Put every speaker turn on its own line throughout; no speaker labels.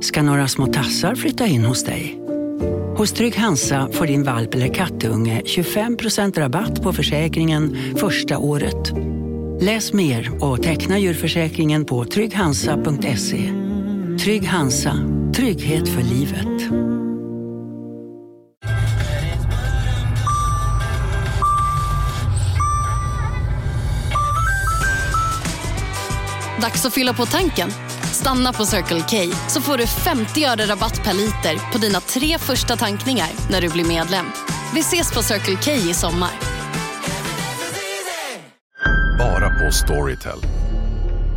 ska några små tassar flytta in hos dig. Hos Trygg Hansa får din valp eller kattunge 25% rabatt på försäkringen första året. Läs mer och teckna djurförsäkringen på trygghansa.se. Trygg Hansa, trygghet för livet.
Dags att fylla på tanken. Stanna på Circle K så får du 50 öre rabatt per liter på dina tre första tankningar när du blir medlem. Vi ses på Circle K i sommar.
Bara på Storytel.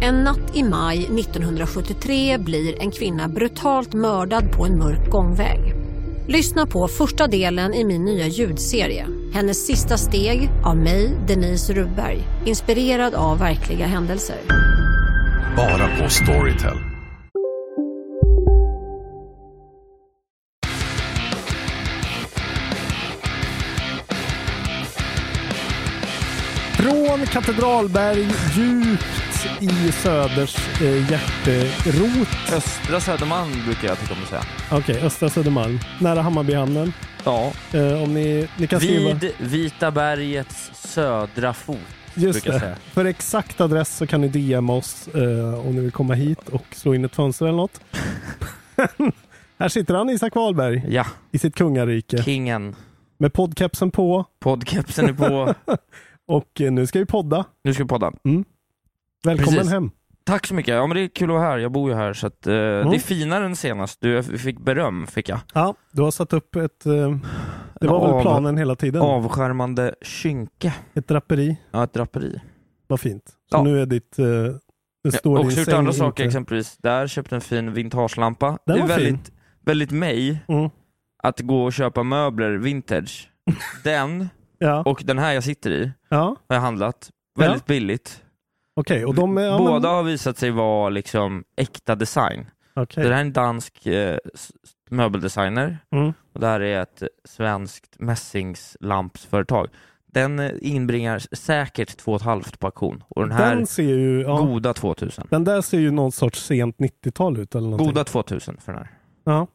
En natt i maj 1973 blir en kvinna brutalt mördad på en mörk gångväg. Lyssna på första delen i min nya ljudserie. Hennes sista steg av mig, Denise Rubberg. Inspirerad av verkliga händelser.
Bara på Storytel.
Från Katedralberg, djupt i Söders eh, hjärterot.
Östra Södermalm brukar jag tycka om att säga.
Okej, Östra Södermalm. Nära Hammarbyhamnen.
Ja.
Eh, om ni, ni kan skriva...
Vid Vita bergets södra fot.
Just
brukar jag
det.
säga.
För exakt adress så kan ni DM oss eh, om ni vill komma hit och slå in ett fönster eller något. Här sitter han, Isak Wahlberg,
Ja,
i sitt kungarike
kingen.
med poddkepsen på
Podcapsen är på.
och eh, nu ska vi podda.
Nu ska vi podda.
Välkommen
Precis.
hem.
Tack så mycket. Ja men det är kul att vara här. Jag bor ju här så att eh,
Mm.
det är finare än senast. Du, jag fick beröm fick jag.
Ja, du har satt upp ett, eh, det var
Av-
väl planen hela tiden,
Avskärmande kynke.
ett draperi.
Ja, ett draperi.
Vad fint. Så
Ja.
nu är ditt... Eh, det
Jag
står
har
din
också gjort
säng
andra saker,
inte-
exempelvis där, köpt en fin vintagelampa.
Den
det är
var fin.
väldigt, väldigt mig
Mm.
att gå och köpa möbler vintage. Den
Ja,
och den här jag sitter i
ja.
har jag handlat
Ja.
väldigt billigt.
okej. Och de är... Ja, men-
Båda har visat sig vara liksom äkta design.
Okej.
Det här är en dansk eh, s- möbeldesigner
Mm.
och det här är ett eh, svenskt mässingslampsföretag. Den eh, inbringar säkert 2,5 på auktion och den här
Den ser ju... Ja,
goda 2000.
Den där ser ju någon sorts sent 90-tal ut eller någonting.
Goda 2000 för den här.
Ja.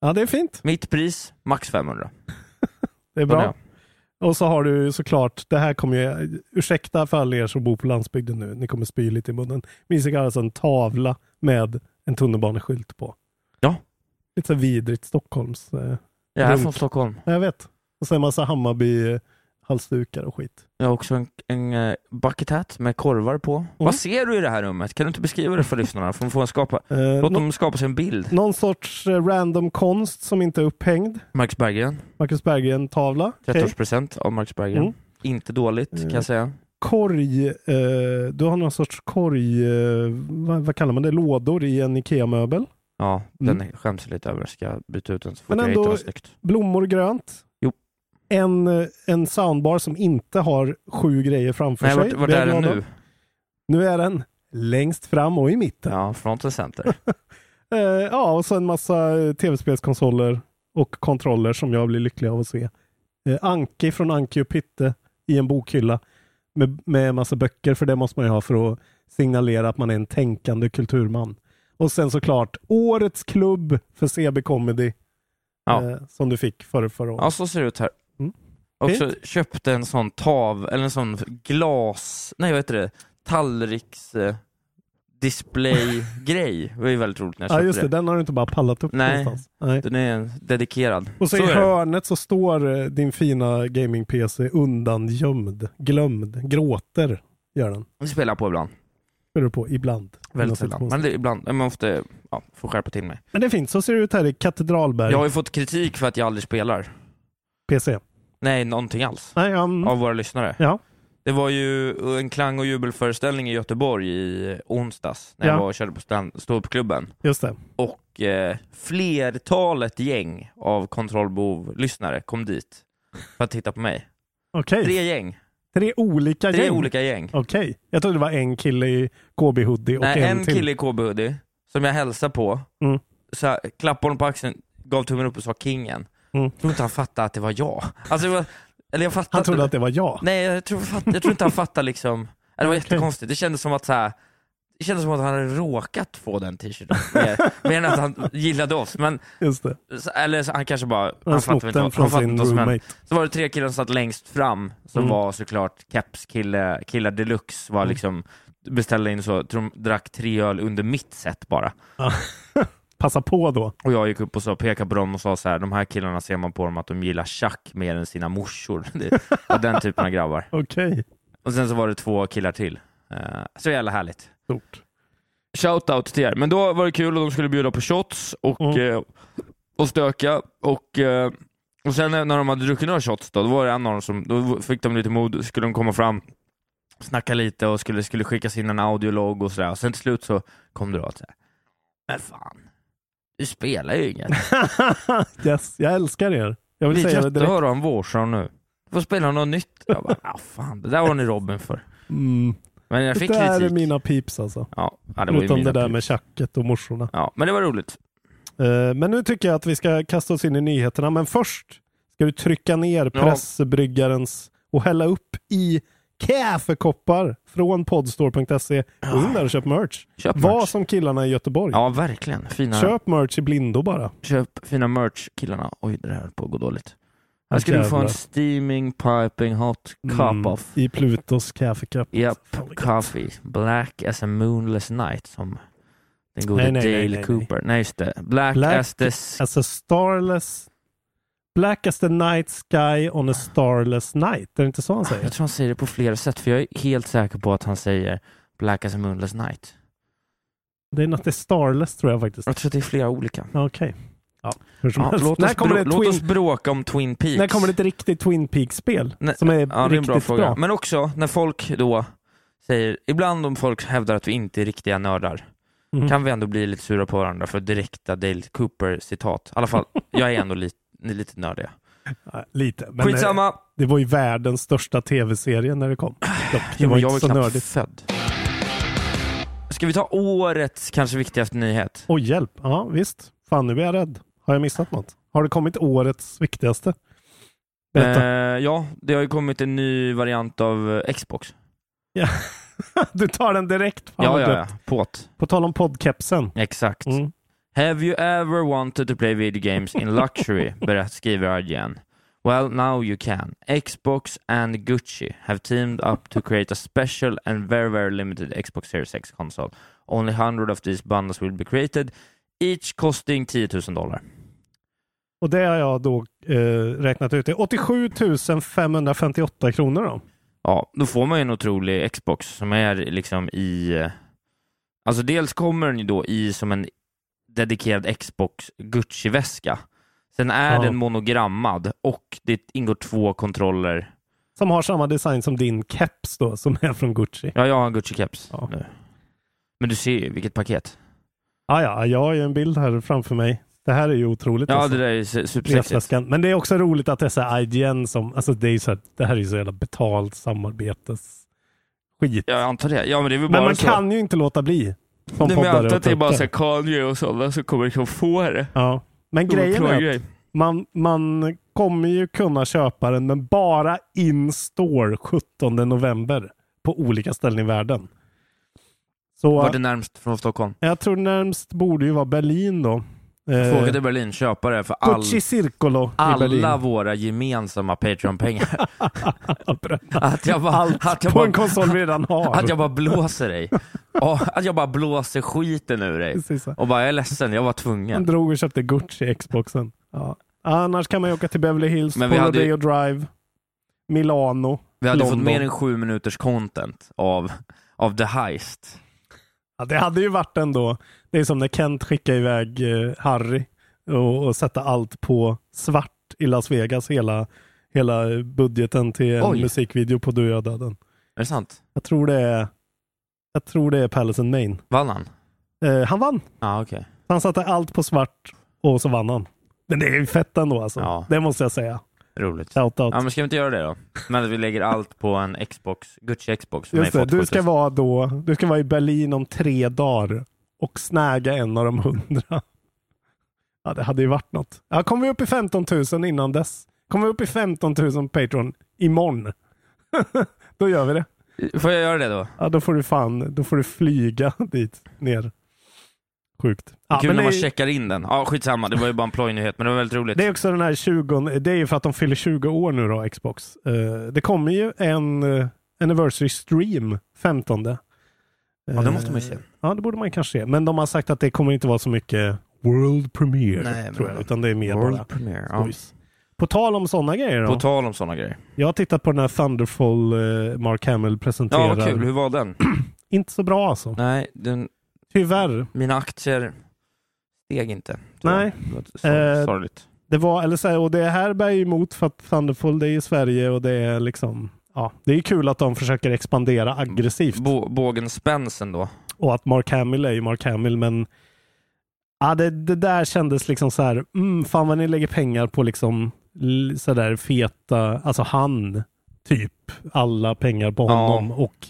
ja, det är fint.
Mitt pris, max 500.
Det är
Vad
bra.
det
Och så har du såklart, det här kommer ju, ursäkta för alla er som bor på landsbygden nu, ni kommer spy lite i munnen. Men Isak har alltså en tavla med en tunnelbaneskylt på.
Ja.
Lite så här vidrigt Stockholms... Eh,
Jag är här
Runt.
från Stockholm.
jag vet. Och sen en massa Hammarby-halsdukar och skit.
Jag har också en, en eh, bucket hat med korvar på.
Mm.
Vad ser du i det här rummet? Kan du inte beskriva det för lyssnarna? För de får en skapa,
Eh,
låt
nå-
dem skapa sig en bild.
Någon sorts eh, random konst som inte är upphängd.
Marcus Berggren,
Marcus Berggren-tavla. Okej.
30-årspresent av Marcus Berggren.
Mm.
Inte dåligt kan jag säga.
korg, eh, du har någon sorts korg, eh, vad, vad kallar man det, lådor i en IKEA-möbel.
Ja,
Mm.
den skäms jag lite över. Jag ska byta ut den så fort
Men
jag
ändå-
hittar något snyggt.
Blommor grönt.
Jo.
En, eh, en soundbar som inte har sju grejer framför
Nej,
sig.
vart, vart
Det
är den
glada.
nu?
Nu är den längst fram och i mitten. Ja,
Ja, front and center.
eh, ja och så en massa eh, tv-spelskonsoler och kontroller som jag blir lycklig av att se. Eh, Anki från Anki och Pytte i en bokhylla med, med en massa böcker, för det måste man ju ha för att signalera att man är en tänkande kulturman. Och sen såklart årets klubb för CB Comedy
Ja.
eh, som du fick förra, förra året.
Ja, så ser det ut här.
Mm.
Också köpte en sån tav, eller en sån glas, nej vad heter det, tallriks eh, display-grej. Det var ju väldigt roligt när jag
Ja,
köpte
just det.
det.
Den har du inte bara pallat upp
Nej.
någonstans. Nej.
Den är dedikerad.
Och så,
är
i
det.
hörnet så står eh, din fina gaming-PC undangömd, glömd, gråter gör den.
Den spelar jag på ibland.
Hör du på ibland. Inom
Väldigt sällan. Men
situationstecken.
det, är ibland, man måste, ja, får skärpa till mig.
Men det är fint. Så ser det ut här i Katedralberg
Jag har ju fått kritik för att jag aldrig spelar.
PC.
Nej, någonting alls.
Nej, ja, mm.
Av våra lyssnare.
ja.
Det var ju en klang och jubelföreställning i Göteborg i onsdags när jag
Ja.
var och körde på stand- ståuppklubben.
just det.
Och eh, flertalet gäng av kontrollbov-lyssnare kom dit för att titta på mig.
Okej.
Tre gäng.
Tre olika
Tre
gäng.
olika gäng.
Okej. Jag trodde det var en kille i KB-hoodie och
Nej, en
till.
kille i KB-hoodie som jag hälsade på,
Mm.
så här, klappade honom på axeln, gav tummen upp och sa kingen.
Mm.
Jag tror inte han fattade att det var jag. Alltså, det var, eller jag fattade
Han trodde att det var jag.
Nej, jag tror, fatt, jag tror inte han fattade liksom. Det var jättekonstigt. Det kändes som att så här, Det kändes som att han hade råkat få den t-shirten. Mer, mer än att han gillade oss. Men,
Just det.
så- eller så, han kanske bara...
Han
fattade
snott
inte
den
vad- han
från
fattade
sin
inte vad som hände.
roommate.
Så var det tre killar som satt längst fram, som
Mm.
var såklart kepskille, killar deluxe, var liksom, beställde in så, tror de drack tre öl under mitt set bara.
Passa på då.
Och jag gick upp och så pekade på dem och sa så här, de här killarna ser man på dem att de gillar tjack mer än sina morsor. Det var den typen av grabbar.
Okej.
Och sen så var det två killar till. Eh, så jävla härligt.
Stort.
Shoutout till er. Men då var det kul och de skulle bjuda på shots och,
Mm.
eh, och stöka. Och, eh, och sen när de hade druckit några shots då, då var det en av dem som, då fick de lite mod, skulle de komma fram, snacka lite och skulle, skulle skickas in en audiolog och sådär. Och sen till slut så kom det då att säga, men fan, du spelar ju inget.
yes, jag älskar er. Jag vill
Vi
säga
kan
det
inte
direkt.
höra om Warzone nu. Du får spela något nytt. Jag bara, ah, fan, det där var ni Robin för.
Mm.
Men jag
Det
fick
där är
kritik.
mina pips alltså.
Ja, ja, det var ju
Förutom
mina
det där
pris.
med tjacket och morsorna.
Ja, men det var roligt.
Eh, Men nu tycker jag att vi ska kasta oss in i nyheterna. Men först ska vi trycka ner
Ja.
pressbryggarens och hälla upp i kaffekoppar från podstore.se. Gå in där och köp merch.
Köp
Var
merch.
som killarna i Göteborg.
Ja, verkligen. Fina, köp.
Köp merch i blindo bara.
fina merch, killarna. Oj, det här höll på att gå dåligt. Här ska du få en
Jävlar.
steaming, piping, hot cup
Mm,
of
I Plutos kaffekapp.
Japp,
Fan, vad gött.
coffee. Black as a moonless night, som den gode
Nej, nej, nej,
Dale
nej, nej.
Cooper. Nej. just det. Black,
Black
as the... s-
Alltså starless... Black as the night sky on a starless night. Är det inte så han säger?
Jag tror han säger det på flera sätt, för jag är helt säker på att han säger Black as a moonless night.
Det är något det är starless tror jag faktiskt.
Jag tror att det är flera olika.
Okej. Ja, hur som
Ja,
helst.
låt,
När
oss
kommer
brå-
det
låt
Twin
oss bråka om Twin Peaks.
När kommer det ett riktigt Twin Peaks-spel?
Nej,
Som är
Ja, det är en
riktigt
bra
bra.
fråga. Men också när folk då säger, ibland om folk hävdar att vi inte är riktiga nördar,
Mm.
kan vi ändå bli lite sura på varandra för direkta Dale Cooper-citat. I alla fall, jag är ändå lite, lite nördiga.
Ja, lite. Men eh,
Skitsamma!
det var ju världens största tv-serie när det kom. Dock, Det
Jo,
var
men
ju inte
jag var
så
knappt
nördigt.
född. Ska vi ta årets kanske viktigaste nyhet?
Oj, hjälp. Ja, visst. Fan, nu är jag rädd. Har jag missat något? Har det kommit årets viktigaste? Berätta.
Eh, ja, det har ju kommit en ny variant av eh, Xbox.
Du tar den direkt. Fan,
Ja,
vad
ja,
dumt.
ja. På't.
På tal om poddkepsen.
Exakt.
Mm.
Have you ever wanted to play video games in luxury? Berätt, skriver IGN. Well, now you can. Xbox and Gucci have teamed up to create a special and very, very limited Xbox Series X console. Only 100 of these bundles will be created, each costing 10 000 dollar.
Och det har jag då eh, räknat ut. Det är 87 558 kronor då.
Ja, då får man ju en otrolig Xbox som är liksom i... eh, Alltså dels kommer den ju då i som en dedikerad Xbox Gucci-väska. Sen är
Ja.
den monogrammad och det ingår två kontroller.
Som har samma design som din keps då, som är från Gucci.
Ja, jag har en Gucci-keps
Ja.
nu. Men du ser ju vilket paket.
Ah, ja, jag har ju en bild här framför mig. Det här är ju otroligt.
Ja,
alltså.
det där är ju se- supersexigt.
resväskan. Men det är också roligt att det är så här IGN som, alltså det är ju så här, det här är ju så jävla betalt samarbetes skit.
Ja, Jag antar det. Ja, men det är väl bara
men man
så.
kan ju inte låta bli. Som
Nej, men jag
poddare
antar
och
att det är bara så här
tänkare.
Kanye och sådana som kommer liksom få det.
Ja. Men grejen
Otrolig
är att
grej.
man, man kommer ju kunna köpa den, men bara in store 17 november på olika ställen i världen. Så
Var det närmst från Stockholm?
jag tror närmst borde ju vara Berlin då. Eh,
Fråga till Berlin, köpa det för all...
Gucci Circolo i Berlin.
alla våra gemensamma Patreon-pengar. att jag bara, att jag
På en
bara,
konsol vi redan har.
att jag bara blåser dig. Ja, att jag bara blåser skiten ur dig.
Precis så.
Och bara, jag är ledsen, jag var
Han
tvungen.
drog och köpte Gucci-Xboxen. Ja. Annars kan man ju åka till Beverly Hills,
Men vi hade
Colorado
ju-
Drive, Milano.
Vi hade fått
London.
mer än sju minuters content av, av The Heist.
Ja, det hade ju varit ändå. Det är som när Kent skickar iväg eh, Harry och, och sätta allt på svart i Las Vegas. Hela, hela budgeten till en
Oj.
musikvideo på Du och jag döden.
Är det sant?
Jag tror det är, jag tror det är Palace and Main.
Vann han?
Eh, han vann.
Ja, okej.
Han satte allt på svart och så vann han. Men det är ju fett ändå alltså.
Ja.
Det måste jag säga.
Roligt. Ja,
Shout out.
men ska vi inte göra det då? Men att vi lägger allt på en Xbox, Gucci Xbox. som
Just
är
det, du
47
ska, vara då, du ska vara i Berlin om tre dagar och snäga en av de hundra. Ja, det hade ju varit något. Ja, kommer vi upp i 15 000 innan dess? Kommer vi upp i 15 000 Patreon imorgon? då gör vi det.
Får jag göra det då?
Ja, då får du fan, då får du flyga dit ner. Sjukt. Ja,
Kul
men
när man
det, är-
checkar in den. Ja, skitsamma. Det var ju bara en plojnyhet, men det var väldigt roligt.
det är också den här 20, det är ju för att de fyller 20 år nu då, Xbox. Eh, det kommer ju en eh, anniversary stream 15.
Ja, det måste man ju se.
Ja, det borde man kanske se. Men de har sagt att det kommer inte vara så mycket world premiere,
Nej, men-
tror jag, utan det är mer bara
World premiere. Ja.
skojs. På tal om sådana grejer då.
På tal om sådana grejer.
jag har tittat på den här Thunderfall eh, Mark Hamill
Ja,
presenterar.
vad kul. Hur var den?
Inte så bra alltså.
Nej, den,
Tyvärr.
mina aktier steg inte.
Nej.
Det var så-
Eh,
Sorgligt.
Det var, eller så här, och det här bär ju emot för att Thunderfall det är i Sverige och det är liksom, ja, det är kul att de försöker expandera aggressivt.
Bo, bågen spänsen då.
Och att Mark Hamill är ju Mark Hamill, men ja, det, det där kändes liksom så här, mm, fan vad ni lägger pengar på liksom l- så där feta, alltså han, typ, alla pengar på
Ja.
honom och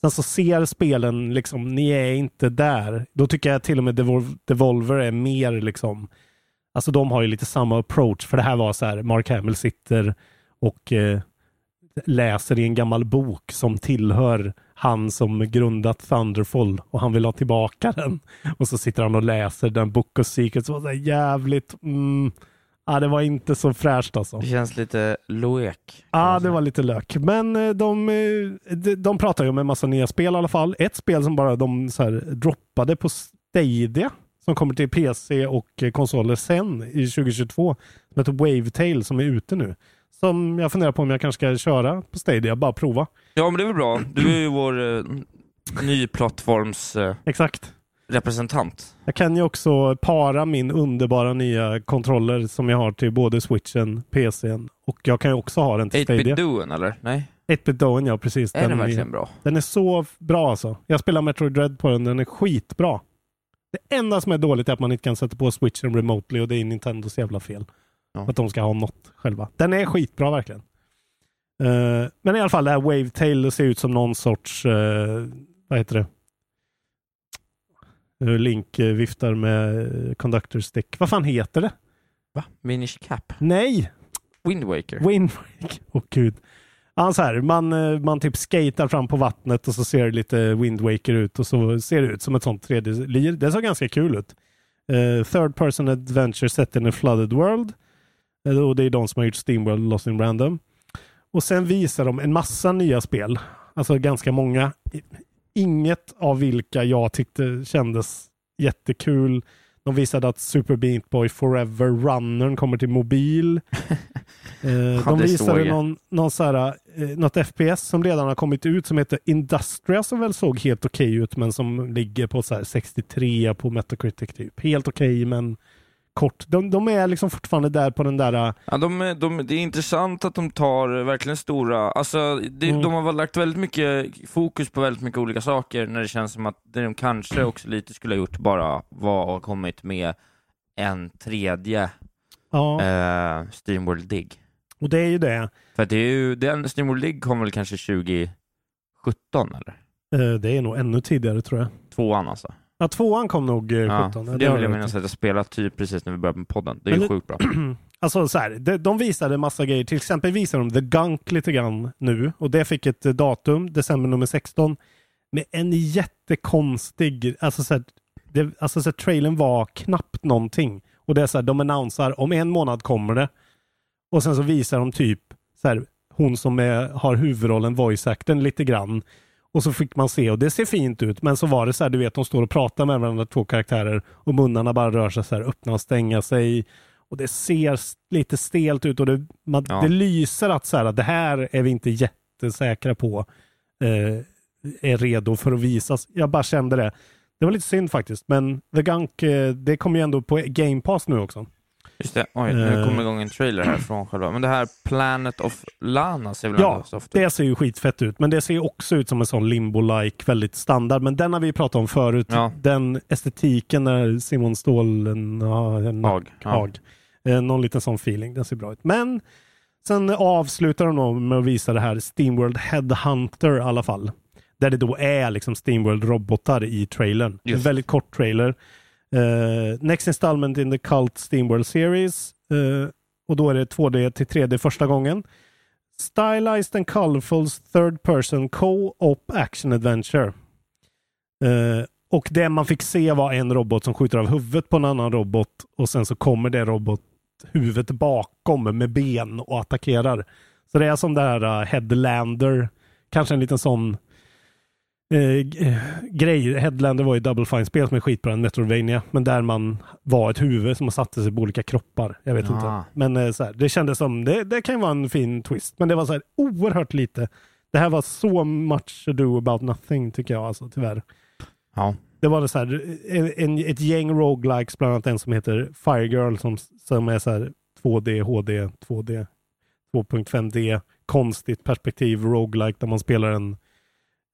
sen så ser spelen liksom, ni är inte där. Då tycker jag till och med Devol- Devolver är mer liksom, alltså de har ju lite samma approach, för det här var så här, Mark Hamill sitter och eh, läser i en gammal bok som tillhör han som grundat Thunderfall och han vill ha tillbaka den. Och så sitter han och läser den Book of Secrets och så här, jävligt... Mm, ja, det var inte så fräscht alltså.
Det känns lite loek.
Ja, det var lite lök. Men eh, de, eh, de, de pratar ju om en massa nya spel i alla fall. Ett spel som bara de så här, droppade på Stadia som kommer till PC och eh, konsoler sen i 2022 som heter Wavetail som är ute nu. Som jag funderar på om jag kanske ska köra på Stadia, bara prova.
Ja, men det är väl bra. Du är ju vår eh, nyplattforms eh,
Exakt.
representant.
Jag kan ju också para min underbara nya kontroller som jag har till både switchen, PCn och jag kan ju också ha den till
8-bit
Stadia.
Doen, eller? Nej?
8-bit Doen, ja precis.
Är den
är-
verkligen bra?
Den är så f- bra alltså. Jag spelar Metroid Dread på den, den är skitbra. Det enda som är dåligt är att man inte kan sätta på switchen remotely och det är Nintendos jävla fel.
Ja.
Att de ska ha något själva. Den är skitbra verkligen. Eh, men i alla fall det här Wavetail det ser ut som någon sorts, eh, vad heter det? Eh, Link eh, viftar med eh, conductor stick. Vad fan heter det?
Va? Minish Cap?
Nej!
Wind Waker?
Wind Waker. Åh gud. Ja, så här, man, eh, man typ skatar fram på vattnet och så ser det lite Wind Waker ut och så ser det ut som ett sånt 3D-lir. Det såg ganska kul ut. Eh, third person adventure set in a flooded world. Eh, och det är de som har gjort Steamworld och Lost in Random. Och sen visar de en massa nya spel. Alltså ganska många. I- Inget av vilka jag tyckte kändes jättekul. De visade att Super Beat Boy Forever Runnern kommer till mobil. Eh,
Ja,
de
det såg
visade
jag.
någon, någon så här, eh, något FPS som redan har kommit ut som heter Industria som väl såg helt okej ut men som ligger på så här 63 på Metacritic typ. Helt okej men kort. De, de är liksom fortfarande där på den där eh,
Ja, de, är- de, det är intressant att de tar verkligen stora, alltså det,
Mm.
de har väl lagt väldigt mycket fokus på väldigt mycket olika saker när det känns som att det de kanske
Mm.
också lite skulle ha gjort bara var att kommit med en tredje
ja,
eh, Steamworld Dig.
och det är ju det.
För att det är ju, den Steamworld Dig kom väl kanske 2017 eller?
Eh, Det är nog ännu tidigare tror jag.
Tvåan alltså.
Ja, tvåan kom nog eh,
Ja,
17.
det vill jag
minnas.
minnas att jag spelade typ precis när vi började med podden. Det är
Men
ju
det-
sjukt bra.
Alltså så här, de, de visade massa grejer. Till exempel visade de The Gunk lite grann nu och det fick ett eh, datum, december nummer 16, med en jättekonstig, alltså så här, det, alltså så här, trailern var knappt någonting. Och det är så här, de annonsar om en månad kommer det. Och sen så visar de typ så här, hon som är, har huvudrollen, voice-acten lite grann. Och så fick man se och det ser fint ut. Men så var det så här, du vet, de står och pratar med varandra, två karaktärer. Och munnarna bara rör sig så här, öppna och stänga sig. Och det ser s- lite stelt ut och det, man,
Ja.
det lyser att så här, att det här är vi inte jättesäkra på. Eh, är redo för att visas. Jag bara kände det. Det var lite synd faktiskt. Men The Gunk, eh, det kommer ju ändå på Game Pass nu också.
Just det, oj nu
Eh.
kom igång en trailer här från själva. Men det här Planet of Lana ser väl
Ja,
ändå soft ut?
det ser ju skitfett ut. Men det ser ju också ut som en sån limbo-like, väldigt standard. Men den har vi pratat om förut.
Ja.
Den estetiken när Simon Ståhlen... Ja, en-
Hag, ja.
Hag. Eh, Någon liten sån feeling. Den ser bra ut. Men sen avslutar de då med att visa det här Steamworld Headhunter i alla fall. Där det då är liksom Steamworld-robotar i trailern. En
Just.
väldigt kort trailer. Eh, next installment in the Cult Steamworld Series. Eh, och då är det 2D till 3D första gången. Stylized and colorful third person co-op action adventure. Eh, och det man fick se var en robot som skjuter av huvudet på en annan robot och sen så kommer det robot huvudet bakom med ben och attackerar. Så det är som det här eh, Headlander, kanske en liten sån eh, g- grej. Headlander var ju Double Fine-spel som är skitbra, en Metroidvania, men där man var ett huvud som man satte sig på olika kroppar. Jag vet
Ja.
inte. Men eh, så här, det kändes som, det, det kan ju vara en fin twist, men det var så här oerhört lite. Det här var så much to do about nothing tycker jag alltså, tyvärr.
Ja.
Det var det så här, en, en, ett gäng roguelikes, bland annat en som heter Fire Girl som, som är så här 2D, HD, 2D, 2.5D, konstigt perspektiv, roguelike där man spelar en,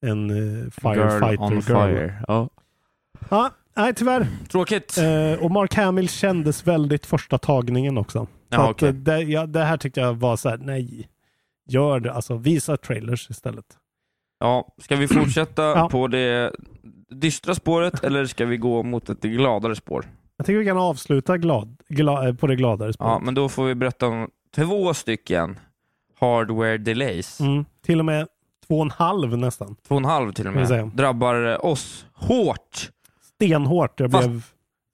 en eh, firefighter
Girl on fire. Ja.
Ja, nej tyvärr.
Tråkigt.
Eh, och Mark Hamill kändes väldigt första tagningen också. Så
Ja,
att,
okej.
eh, det, ja, det här tyckte jag var så här, nej. Gör det, alltså visa trailers istället.
Ja, ska vi fortsätta
Ja.
på det dystra spåret eller ska vi gå mot ett gladare spår?
Jag tycker vi kan avsluta glad, gla, eh, på det gladare
Ja,
spåret.
men då får vi berätta om två stycken hardware delays.
Mm, till och med två och en halv nästan.
Två och en halv till och
Kan vi säga.
med. Drabbar eh, oss hårt.
Stenhårt. Jag
Fast-
blev...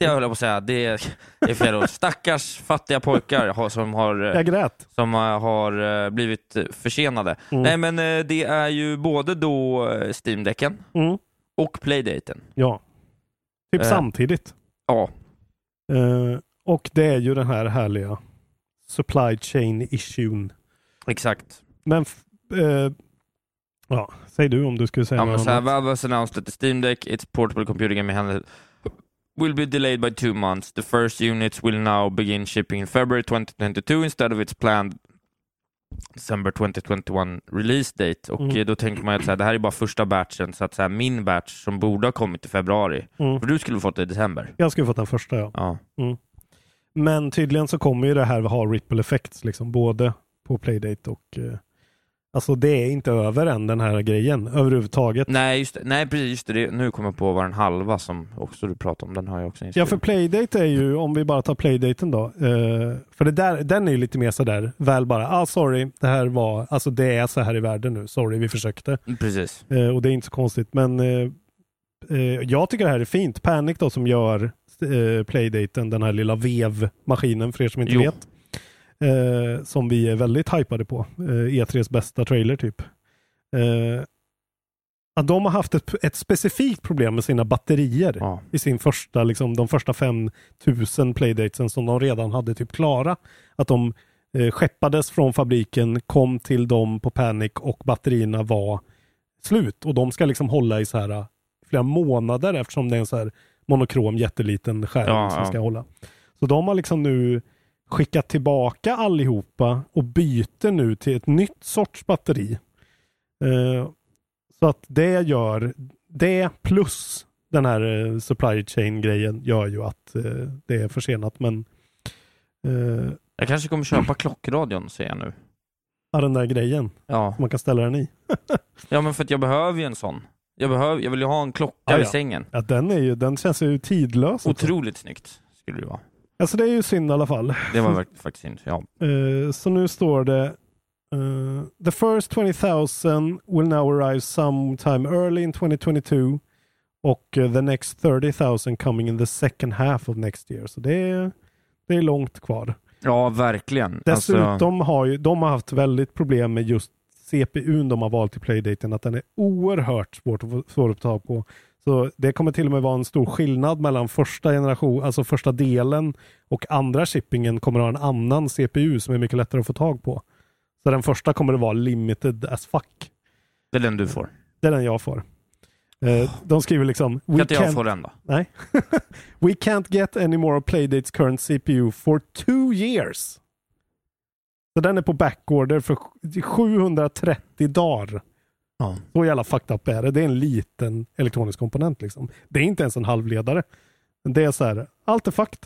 Det höll jag på att säga. Det är, det är fel ord. Stackars fattiga pojkar har- som har eh,
Jag grät.
som eh, har eh, blivit eh, försenade.
Mm.
Nej men eh, det är ju både då eh, Steam-däcken
Mm.
och Playdaten.
Ja. Typ
Eh.
samtidigt.
Ja,
Eh, och det är ju den här härliga supply chain issuen.
exakt.
Men f- eh, ja, säg du om du skulle säga
Ja, men
något
så här,
annat.
Valve has announced that the Steam Deck, its portable computer game handheld, will be delayed by two months. The first units will now begin shipping in February 2022 instead of its planned December 2021 release date. Och
Mm.
eh, då tänker man ju att så här, det här är bara första batchen, så att så här, min batch som borde ha kommit i februari,
Mm.
för du skulle fått det i december.
Jag skulle fått den första ja.
Ja.
Men tydligen så kommer ju det här ha ripple effects, liksom, både på Playdate och... Eh, alltså det är inte över än den här grejen överhuvudtaget.
Nej, just det. Nej, precis. Just det. det. Nu kommer jag på vad den halva som också du pratade om, den har jag också
Ja,
inskriven.
för Playdate är ju, om vi bara tar Playdaten då, eh, för det där, den är ju lite mer sådär, väl bara, ah sorry, det här var, alltså det är så här i världen nu, sorry vi försökte.
Precis.
Eh, och det är inte så konstigt, men eh, eh, jag tycker det här är fint. Panic då som gör eh, Playdaten, den här lilla vevmaskinen för er som inte
Jo.
vet, eh, som vi är väldigt hypade på. Eh, E3s bästa trailer typ. Eh, att de har haft ett, ett specifikt problem med sina batterier
Ja.
i sin första, liksom, de första 5000 playdatesen som de redan hade typ klara. Att de eh, skeppades från fabriken, kom till dem på Panic och batterierna var slut och de ska liksom hålla i så här eh, flera månader eftersom det är en så här monokrom jätteliten skärm
Ja,
som
ja.
ska hålla. Så de har liksom nu skickat tillbaka allihopa och byter nu till ett nytt sorts batteri. Eh, så att det gör, det plus den här eh, supply chain-grejen gör ju att eh, det är försenat. Men eh,
Jag kanske kommer köpa klockradion, ser jag nu.
ja, den där grejen,
Ja.
man kan ställa den i.
ja, men för att jag behöver ju en sån. Jag, behöver, jag vill ju ha en klocka
Ja,
i
ja.
sängen.
Ja, den, är ju, den känns ju tidlös. också.
Otroligt snyggt skulle det vara.
Alltså det är ju synd i alla fall.
Det var verk- faktiskt inte... Ja.
Eh, så nu står det eh, The first 20,000 will now arrive sometime early in 2022 och eh, the next 30,000 coming in the second half of next year. Så det är, det är långt kvar.
ja, verkligen.
Dessutom
Alltså,
har ju, de har haft väldigt problem med just CPUn de har valt i Playdaten, att den är oerhört svårt att, få- svår att ta på. Så det kommer till och med vara en stor skillnad mellan första generation, alltså första delen och andra shippingen kommer ha en annan CPU som är mycket lättare att få tag på. Så den första kommer att vara limited as fuck.
det är den du får.
Det är den jag får. Eh, De skriver liksom...
Kan
We
inte jag
can't,
få den då?
nej. We can't get any more of Playdates current CPU for two years. Så den är på backorder för 730 dagar.
Ja.
Så jävla fucked up är det. Det är en liten elektronisk komponent. Liksom. Det är inte ens en halvledare. Det är så här, allt är fucked.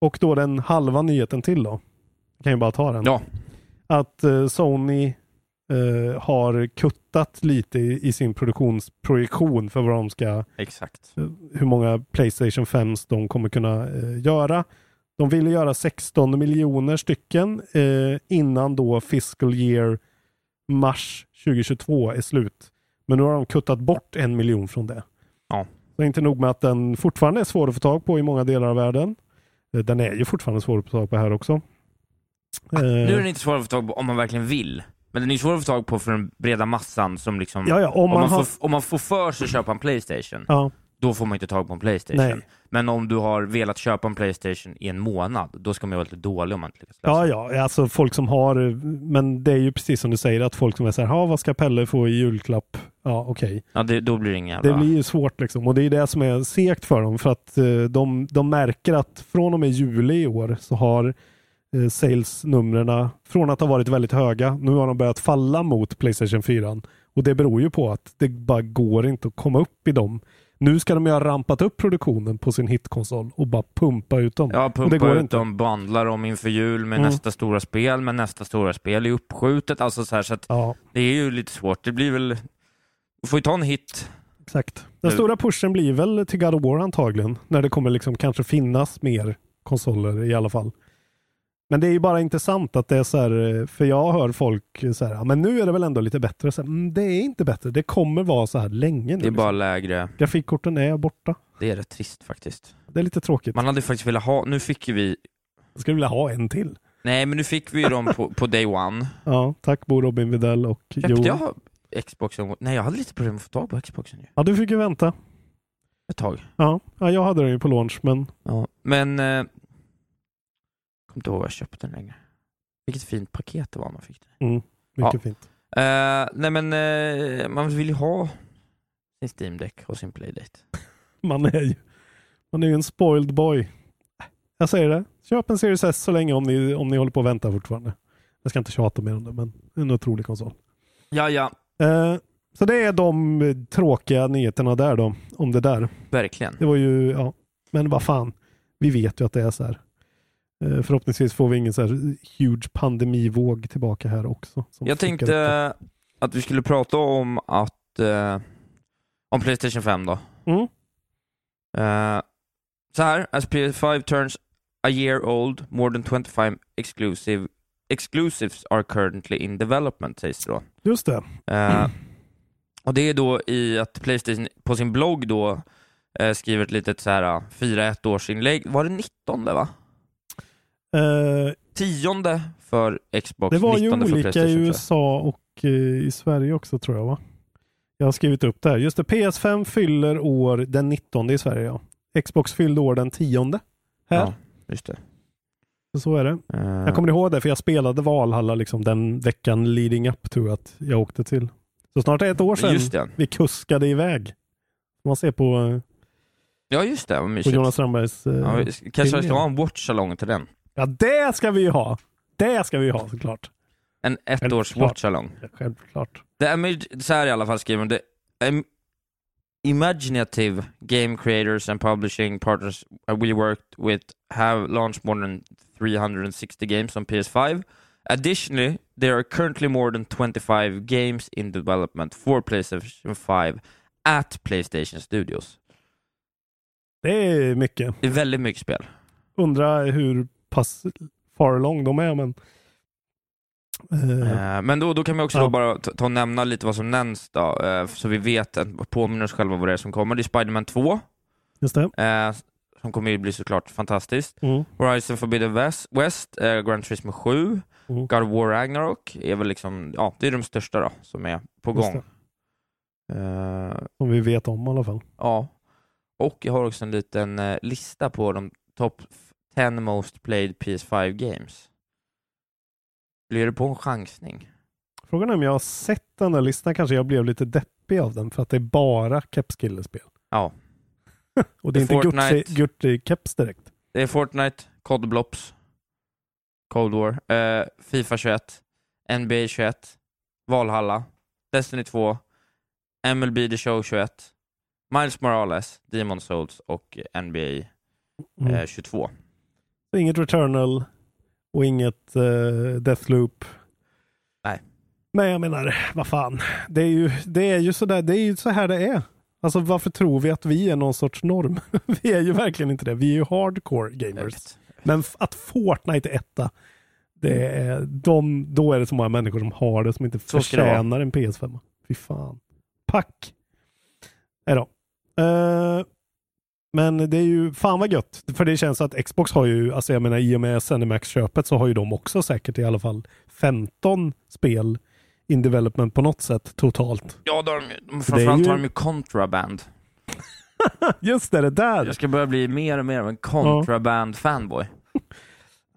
Och då den halva nyheten till då. Jag kan ju bara ta den.
Ja.
Att eh, Sony eh, har kuttat lite i, i sin produktionsprojektion för vad de ska
Exakt.
hur många Playstation 5 de kommer kunna eh, göra. De ville göra 16 miljoner stycken eh, innan då fiscal year mars 2022 är slut. Men nu har de kuttat bort en miljon från det.
Ja.
Så inte nog med att den fortfarande är svår att få tag på i många delar av världen. Eh, Den är ju fortfarande svår att få tag på här också. Eh,
Nu är den inte svår att få tag på om man verkligen vill. Men den är ju svår att få tag på för den breda massan som liksom...
ja, ja, om,
Om man,
har...
får, om man får för sig att köpa en Playstation,
Ja,
då får man inte tag på en Playstation.
Nej.
Men om du har velat köpa en Playstation i en månad, då ska man ju vara lite dålig om man inte lyckas lösa
ja,
det.
ja, alltså folk som har, men det är ju precis som du säger att folk som är så här, "Ha, vad ska Pelle få i julklapp? Ja, okej.
ja det, Då blir det ingen jävla...
Det blir ju svårt liksom och det är det som är segt för dem för att eh, de, de märker att från och med juli i år så har eh, salesnumren från att ha varit väldigt höga, nu har de börjat falla mot Playstation 4 och det beror ju på att det bara går inte att komma upp i dem. Nu ska de ju ha rampat upp produktionen på sin hitkonsol och bara pumpa ut dem.
Ja,
och det
pumpa
går
ut
inte.
dem, bandlar dem inför jul med
Mm.
nästa stora spel, men nästa stora spel är uppskjutet. Alltså så här, så att
Ja,
det är ju lite svårt. Det blir väl... Du får ju ta en hit.
exakt. Eh. Den
Nu-
stora pushen blir väl till God of War antagligen när det kommer liksom kanske finnas mer konsoler i alla fall. Men det är ju bara intressant att det är så här, eh, för jag hör folk så här, "Ja, men nu är det väl ändå lite bättre. Så här, "Mm, det är inte bättre, det kommer vara så här länge nu.
Det är bara
liksom.
lägre.
Grafikkorten är borta.
Det är rätt trist faktiskt.
Det är lite tråkigt.
Man hade ju faktiskt velat ha... Nu fick ju vi...
Jag skulle vilja ha en till.
Nej, men nu fick vi ju dem på, på day one.
Ja, tack Bo Robin Videll och
Köpte
Joel.
jag Xboxen? Nej, jag hade lite problem att få tag på Xboxen ju.
Ja, du fick ju vänta.
Ett tag.
Ja, ja jag hade den ju på launch, men
Ja. Men... Eh, jag kommer inte ihåg vad jag köpte den längre. Vilket fint paket det var man fick. Det.
mycket
Ja.
fint.
Eh, nej men, eh, man vill ju ha sin Steam Deck och sin Playdate.
Man är ju, man är ju en spoiled boy. Jag säger det. Köp en Series S så länge om ni, om ni håller på att vänta fortfarande. Jag ska inte tjata mer om det, men en otrolig konsol.
Ja, ja.
Eh, så det är de eh, tråkiga nyheterna där då, om det där.
Verkligen.
Det var ju, ja, men vad fan. Vi vet ju att det är så här. Eh, förhoppningsvis får vi ingen så här huge pandemivåg tillbaka här också. som
Jag
fuckar upp
tänkte
det.
eh, att vi skulle prata om att eh, om Playstation 5 då.
Mm.
Eh, så här, as PS5 turns a year old, more than 25 exclusive exclusives are currently in development sägs det då.
Just det.
Eh, Och det är då i att Playstation på sin blogg då eh, skriver ett litet så här eh, 4-1 års inlägg. Var det 19 va?
Eh,
Tionde för Xbox,
det var ju
19 för
olika i
Playstation. tror jag.
USA och eh, i Sverige också tror jag va? Jag har skrivit upp det här. Just det, PS5 fyller år den 19 i Sverige ja. Xbox fyllde år den 10. Här.
Ja, just det.
Så är det.
Eh,
Jag kommer ihåg det för jag spelade Valhalla liksom den veckan leading up to att jag åkte till. Så snart är det ett år sedan
Eh, Just det.
vi kuskade iväg. Man ser på, eh,
Ja just det, vad
på
mysigt.
Jonas Strandbergs... eh,
Ja, vi s- kanske
film
ska ha
igen.
en watch-along till den.
Ja, det ska vi ju ha! Det ska vi ju ha såklart.
En
Självklart.
ettårs watch-along.
Självklart.
The image, så här i alla fall skriver hon, the im- imaginative game creators and publishing partners Uh, we worked with have launched more than 360 games on PS5. Additionally, there are currently more than 25 games in development for PlayStation 5 at PlayStation Studios.
Det är mycket.
Det är väldigt mycket spel.
Undrar hur pass far along de är men... Eh,
Eh, Men då, då kan vi också
Ja.
då bara ta, ta och nämna lite vad som nämns då, eh, så vi vet, eh, påminner oss själva vad det är som kommer. Det är Spider-Man 2,
Just det.
eh, som kommer ju bli såklart fantastiskt.
Mm.
Horizon Forbidden West, West eh, Grand Turismo 7,
Mm.
God of War Ragnarok är väl liksom, ja det är de största då, som är på
Just
gång. Eh,
Som vi vet om i alla fall.
ja. Och jag har också en liten eh, lista på de top 10 most played PS5 games. Blir det på en chansning?
Frågan är om jag har sett den där listan kanske jag blev lite deppig av den för att det är bara Caps spel
Ja.
Och det är
Fortnite.
inte Gucci-keps direkt.
Det är Fortnite, COD Blops, Cold War, eh, Fifa 21, NBA 21, Valhalla, Destiny 2, MLB The Show 21, Miles Morales, Demon Souls och NBA
Mm.
eh, 22.
Så Inget Returnal och inget eh, Deathloop.
Nej.
Nej, jag menar, vad fan. Det är ju, det är ju, sådär, det är ju så här det är. Alltså varför tror vi att vi är någon sorts norm? vi är ju verkligen inte det. Vi är ju hardcore
Jag
gamers.
vet,
Men f- att Fortnite är etta, det är, de, då är det så många människor som har det som inte
Så ska det vara.
förtjänar en PS5. Fy fan. Pack. Nej då. Eh, men det är ju fan vad gött. För det känns att Xbox har ju, alltså jag menar i och med ZeniMax-köpet så har ju de också säkert i alla fall 15 spel in development på något sätt totalt.
Ja, då har de, ju- framförallt
ju-
har de ju Contraband.
Just det, det där.
Jag ska börja bli mer och mer av en Contraband-fanboy.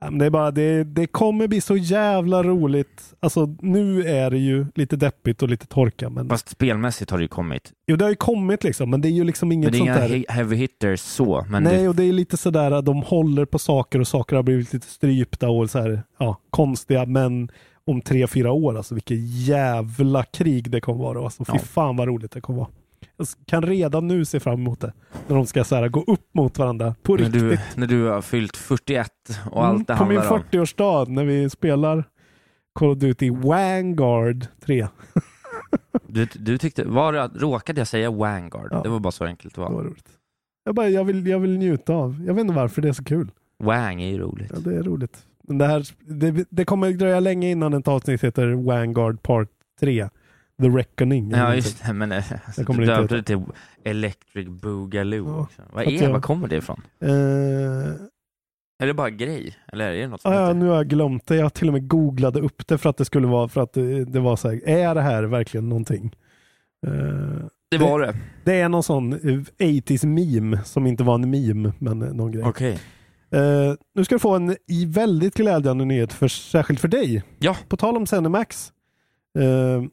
Ja, men Det, är bara, det, det kommer bli så jävla roligt. Alltså nu är det ju lite deppigt och lite torka. Men,
Fast spelmässigt har det ju kommit.
jo, det har ju kommit liksom, men det är ju liksom inget
Men det är
sånt
inga
där.
he- heavy hitters så, men
Nej,
det,
och det är lite sådär att de håller på saker och saker har blivit lite strypta och så här, ja, konstiga. Men om tre, fyra år, alltså vilket jävla krig det kommer vara. Alltså, fy
Ja.
fan vad roligt det kommer vara. Jag kan redan nu se fram emot det. När de ska så här, gå upp mot varandra på
när,
riktigt. Mm,
du, när du har fyllt 41 och allt det
på min
handlar om.
40-årsdag när vi spelar Call of Duty Vanguard 3.
Du, du tyckte, var det, att- råkade jag säga Vanguard?
Ja.
Det var bara så enkelt det
Det
var.
var roligt. Jag, bara, jag, vill, jag vill njuta av. Jag vet inte varför det är så kul.
Wang är ju roligt.
Ja, det är roligt. Men det, här, det, det kommer dröja länge innan ett avsnitt heter Vanguard Part 3. The Reckoning.
Ja, just det. Men eh, alltså,
Jag kommer
du
inte
döpte det till Electric Boogaloo
Ja,
också. Vad
att
är
jag-
Vad kommer det ifrån?
Eh,
Är det bara grej? Eller är det något som
ah, ja,
heter-
nu har jag glömt det. Jag till och med googlade upp det för att det skulle vara för att det, det var så här, är det här verkligen någonting? Eh,
Det var det.
det är någon sån eh, 80s meme som inte var en meme, men eh, någon grej.
Okej.
Eh, nu ska du få en i väldigt glädjande nyhet, för, särskilt för dig.
Ja.
På tal om Zenimax. Eh,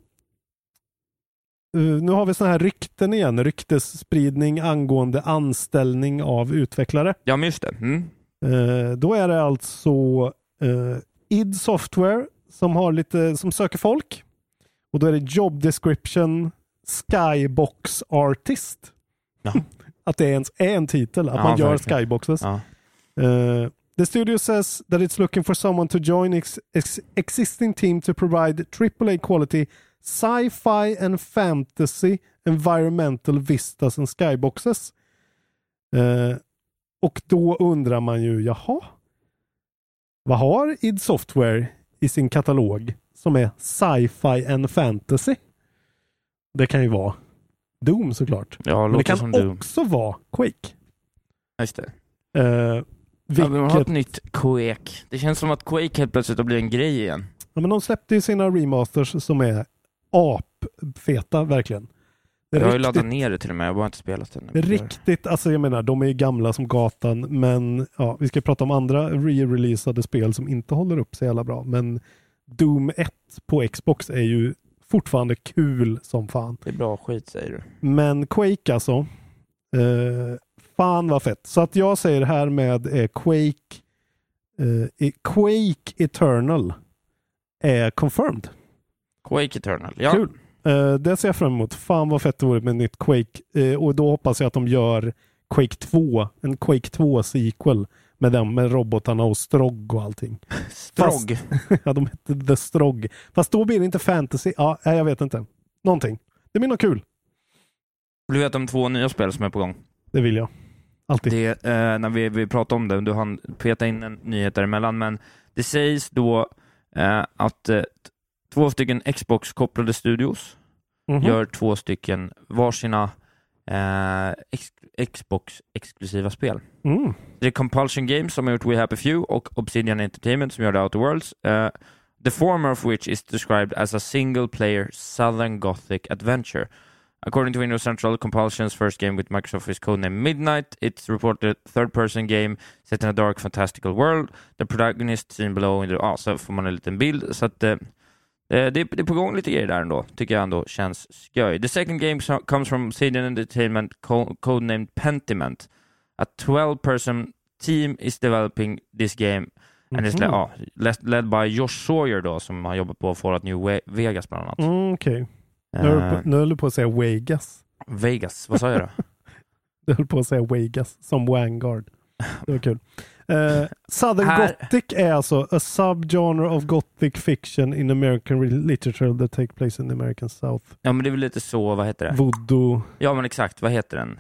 eh, nu har vi sådana här rykten igen. Ryktesspridning angående anställning av utvecklare.
Ja, men just det. Mm.
Eh, då är det alltså eh, id Software som, har lite, som söker folk. Och då är det Job Description Skybox Artist.
Ja.
att det ens är en titel, att
Ja,
man gör
verkligen.
skyboxes.
Ja.
Uh, the studio says that it's looking for someone to join its ex- existing team to provide AAA quality sci-fi and fantasy environmental vistas and skyboxes. Eh, och då undrar man ju, jaha, vad har id Software i sin katalog som är sci-fi and fantasy? Det kan ju vara Doom såklart.
ja,
Men det
låter som
kan
du.
också vara Quake.
Ja, Just det.
Eh,
Ja, men man har
vilket
ett nytt Quake. Det känns som att Quake helt plötsligt har blivit en grej igen.
Ja, men de släppte ju sina remasters som är apfeta, verkligen.
Jag har ju
Riktigt,
laddat ner det till och med, jag har bara inte spelat det. nu.
riktigt, alltså jag menar, de är ju gamla som gatan, men ja, vi ska prata om andra re-releasade spel som inte håller upp så jävla bra, men Doom 1 på Xbox är ju fortfarande kul som fan.
Det är bra skit säger du.
Men Quake alltså, eh, fan vad fett. Så att jag säger här med eh, Quake, eh, i- Quake Eternal är confirmed.
Quake Eternal. Ja,
Kul. Eh, det ser jag fram emot. Fan vad fett det vore med ett nytt Quake. Eh, och då hoppas jag att de gör Quake 2, en Quake 2-sequel med den med robotarna och Strog och allting.
Strog.
ja, de hette The Strog. Fast då blir det inte fantasy. Ja, nej, jag vet inte. Någonting. Det blir något kul.
Vill Du vet om två nya spel som är på gång.
Det vill jag. Alltid.
Det, eh, när vi, vi pratade om det, du hann peta in en nyhet däremellan, men det sägs då eh, att eh, t- två stycken Xbox-kopplade studios
Mhm.
gör två stycken varsina eh, ex- Xbox-exklusiva spel.
Mm.
Det är Compulsion Games som har gjort We Happy Few och Obsidian Entertainment som gör The Outer Worlds. Eh, the former of which is described as a single player Southern Gothic adventure. According to Windows Central, Compulsion's first game with Microsoft is codenamed Midnight. It's reported third-person game set in a dark fantastical world. The protagonist seen below. in the- Ja, så får man en liten bild. Så att, eh, eh, det, det är på gång lite grejer där ändå, tycker jag ändå känns skoj. The second game so- comes from Obsidian Entertainment, co- codenamed Pentiment. A 12-person team is developing this game and it's
Mhm.
le- ja, led, led by Josh Sawyer då, som har jobbat på Fallout New We- Vegas bland annat.
Mm, Okej. Nu
Eh,
höll du på- Nu höll du på att säga Vegas.
Vegas, vad sa jag då?
Du höll på att säga Vegas som Vanguard. Det var kul. Eh, Southern
Här-
Gothic är alltså a subgenre of Gothic fiction in American re- literature that take place in the American South.
Ja men det är väl lite så, vad heter det?
Voodoo.
Ja men exakt, vad heter den?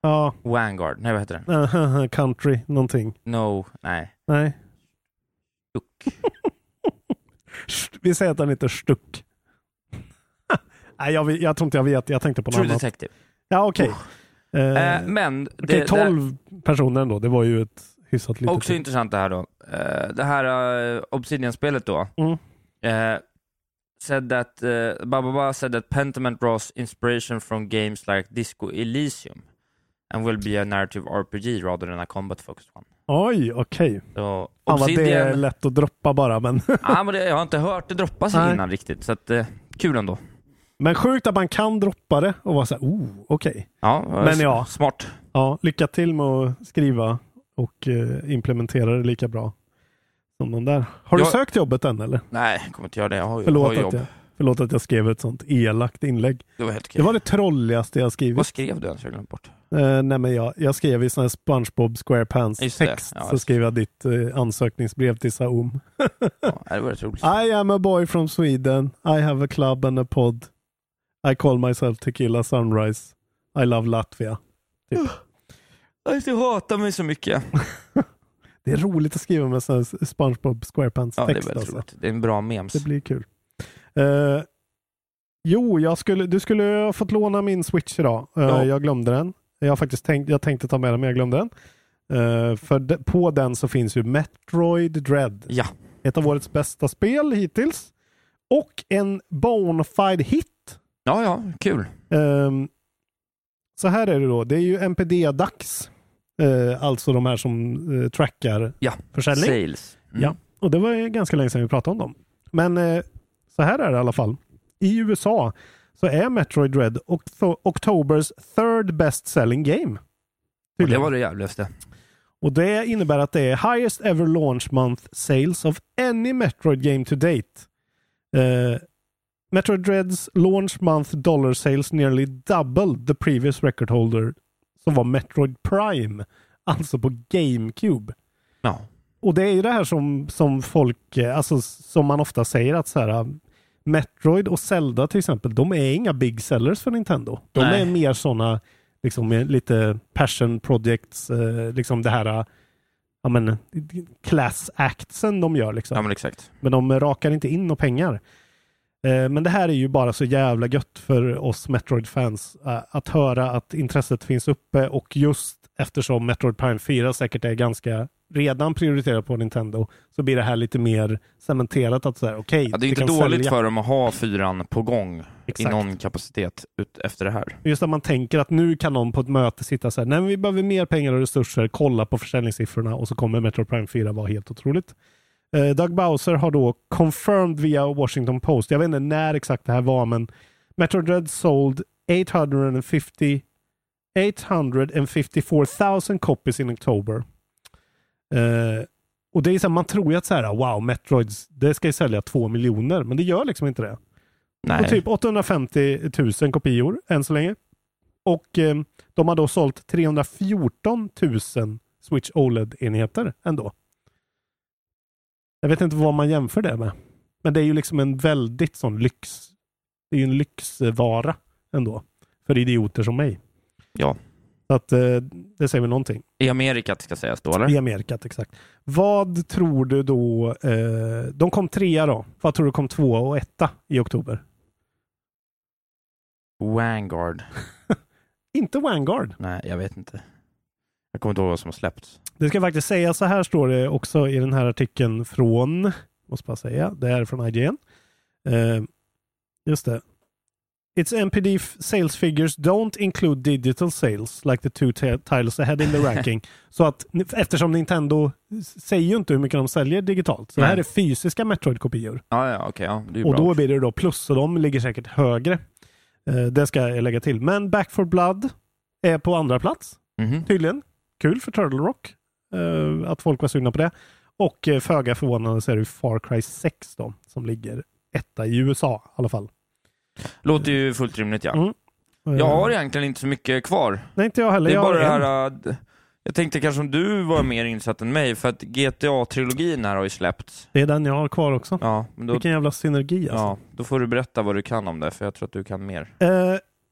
Ja, eh,
Vanguard, nej vad heter den?
country någonting.
No, nej.
Nej.
Stuck.
Vi säger att den heter Stuck. Nej, jag, vet- jag tror inte jag vet. Jag tänkte på något
True
annat.
Detective.
Ja, okej. Eh,
Eh, men det,
Okej,
det-
12 personer ändå. Det var ju ett hyfsat litet...
Också intressant det här då. Eh, det här eh, Obsidian-spelet då.
Mm.
Eh, said that, eh, Bababa said that Pentiment draws inspiration from games like Disco Elysium and will be a narrative RPG rather than a combat focused one.
Oj, okej.
Så
Fan vad det är
Obsidian,
lätt att droppa bara. Men,
ah, men det, jag har inte hört det droppas
Nej.
innan riktigt, så att, eh, kul ändå.
men sjukt att man kan droppa det och vara så här, oh, okej.
Ja, eh,
Men ja.
Smart.
Ja, lycka till med att skriva och eh, implementera det lika bra som de där. Har du
Jag-
sökt jobbet än eller?
Nej, jag kommer inte göra det. Jag har ju, har
Förlåt
ju
att,
jobb.
jag, förlåt att jag skrev ett sånt elakt inlägg.
Det var helt okej.
Det var det trolligaste jag skrivit.
Vad skrev du ens? Jag glömde bort.
Eh, nej men jag, jag skrev i sån här SpongeBob SquarePants
Just det.
text.
Ja,
så
just
skrev jag ditt eh, ansökningsbrev till Saum.
Ja, det var rätt roligt.
I am a boy from Sweden. I have a club and a pod. I call myself Tequila Sunrise. I love Latvia.
Jag hatar mig så mycket.
Det är roligt att skriva med sån här SpongeBob SquarePants
Ja, det är
text.
väldigt
alltså.
roligt. Det är en bra memes.
Det blir kul. Eh, jo, jag skulle, du skulle ha fått låna min switch idag. Eh,
Ja.
Jag glömde den. Jag, har faktiskt tänkt, jag tänkte ta med den, men jag glömde den. Eh, för de, på den så finns ju Metroid Dread.
Ja.
Ett av årets bästa spel hittills. Och en bonafide hit
Ja, ja, kul.
Ehm, så här är det då. Det är ju NPD-dags. Eh, alltså de här som eh, trackar
Ja,
försäljning.
Sales. Mm.
Ja. Och det var ju ganska länge sedan vi pratade om dem. Men eh, så här är det i alla fall. I USA så är Metroid Dread Oct- Octobers third best selling game.
Och det
Tydligen.
var det jävligaste.
Och det innebär att det är highest ever launch month sales of any Metroid game to date. Eh, Metroid Dreads launch month dollar sales nearly doubled the previous record holder som var Metroid Prime, alltså på GameCube.
Ja.
Och det är ju det här som, som folk, eh, alltså som man ofta säger att så här, eh, Metroid och Zelda till exempel, de är inga big sellers för Nintendo. De
Nej.
är mer sådana, liksom eh, lite passion projects, eh, liksom det här, eh, ja men, eh, class actsen de gör liksom.
ja, men exakt.
Men de rakar inte in några pengar. Eh, Men det här är ju bara så jävla gött för oss Metroid-fans eh, att höra att intresset finns uppe och just eftersom Metroid Prime 4 säkert är ganska redan prioriterat på Nintendo så blir det här lite mer cementerat att såhär, okej,
Ja, det är inte
kan
dåligt
sälja.
för dem att ha fyran på gång
Exakt.
i någon kapacitet ut efter det här.
Just att man tänker att nu kan någon på ett möte sitta så här, nej men vi behöver mer pengar och resurser, kolla på försäljningssiffrorna och så kommer Metroid Prime 4 vara helt otroligt. Eh, Doug Bowser har då confirmed via Washington Post, jag vet inte när exakt det här var, men Metroid Dread sold 850 854,000 copies in October. Eh, och det är så här, man tror ju att så här, wow, Metroids, det ska ju sälja två miljoner, men det gör liksom inte det.
Nej.
Och typ 850 000 kopior än så länge. Och eh, de har då sålt 314 000 Switch OLED-enheter ändå. Jag vet inte vad man jämför det med. Men det är ju liksom en väldigt sån lyx. Det är ju en lyxvara ändå. För idioter som mig.
Ja.
Så att eh, det säger väl någonting.
I Amerika ska sägas då, eller?
I Amerikat, exakt. Vad tror du då? Eh, de kom trea då. Vad tror du kom tvåa och etta i oktober?
Vanguard.
Inte Vanguard.
Nej, jag vet inte. Jag kommer inte ihåg vad som har släppts.
Det ska faktiskt säga så här står det också i den här artikeln från, måste bara säga, det här är från IGN. Eh, just det. Its NPD f- sales figures don't include digital sales like the two t- titles ahead in the ranking. så att eftersom Nintendo s- säger ju inte hur mycket de säljer digitalt. Så det här
Nej.
är fysiska Metroid-kopior.
Ja, ja, okej. ja, det är ju
Och
bra.
då blir det då plus, så de ligger säkert högre. Eh, det ska jag lägga till. Men Back for Blood är på andra plats
Mhm.
tydligen. Kul för Turtle Rock eh, att folk var sugna på det. Och eh, föga förvånande så är det ju Far Cry 6 då, som ligger etta i USA i alla fall.
Låter ju fullt rimligt, ja.
Mm. Eh,
Jag har egentligen inte så mycket kvar.
Nej, inte jag heller.
Det är
jag
bara det
har en.
här... äh, d- Jag tänkte kanske om du var mer insatt än mig, för att GTA-trilogin här har ju släppts.
det är den jag har kvar också.
Ja, men då
Vilken jävla synergi alltså.
Ja, då får du berätta vad du kan om det, för jag tror att du kan mer.
Eh,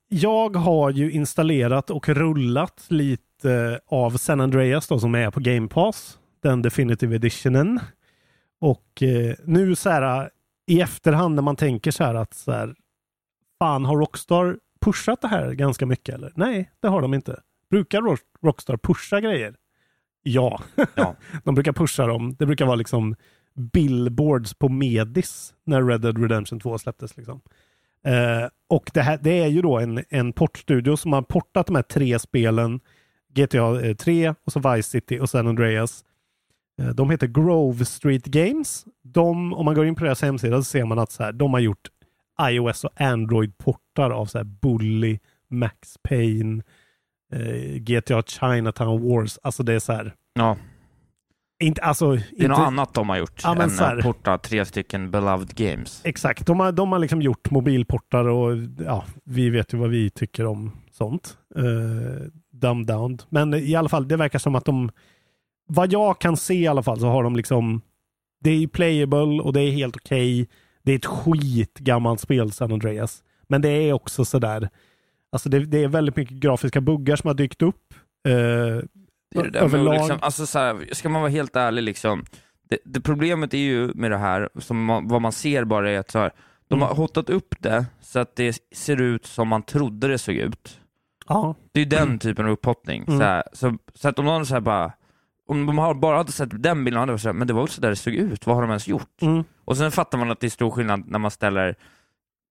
jag har ju installerat och rullat lite eh, av San Andreas då, som är på Game Pass, den Definitive Editionen. Och eh, nu så här i efterhand när man tänker så här att så här, fan har Rockstar pushat det här ganska mycket eller? Nej, det har de inte. Brukar Rock- Rockstar pusha grejer? Ja,
Ja.
de brukar pusha dem. Det brukar vara liksom billboards på Medis när Red Dead Redemption 2 släpptes. Liksom. Eh, och det, här, det är ju då en, en portstudio som har portat de här tre spelen, GTA eh, 3 och så Vice City och San Andreas. Eh, de heter Grove Street Games. De, om man går in på deras hemsida så ser man att så här, de har gjort iOS och Android-portar av så här Bully, Max Payne, eh, GTA Chinatown Wars. Alltså det är så här,
Ja,
inte, alltså,
det är
inte,
något annat de har gjort
Ja, men
än
så här-
att porta tre stycken Beloved Games.
Exakt, de har, de har liksom gjort mobilportar och ja, vi vet ju vad vi tycker om sånt. Uh, dumbed down. Men i alla fall, det verkar som att de, vad jag kan se i alla fall så har de liksom, det är playable och det är helt okej. Det är ett skitgammalt spel San Andreas. Men det är också sådär, alltså det, det är väldigt mycket grafiska buggar som har dykt upp. Eh,
Det är det där
överlag.
Med, att liksom, alltså, så här, ska man vara helt ärlig, liksom, det, det problemet är ju med det här, som man, vad man ser bara är att så här, de
Mm.
har hotat upp det så att det ser ut som man trodde det såg ut.
ja,
Det är ju den
Mm.
typen av upphottning. Så, här, så, så att om någon så här bara, om de har- bara hade sett den bilden hade de varit så här, men det var väl så där det såg ut, vad har de ens gjort?
Mm.
Och sen fattar man att det är stor skillnad när man ställer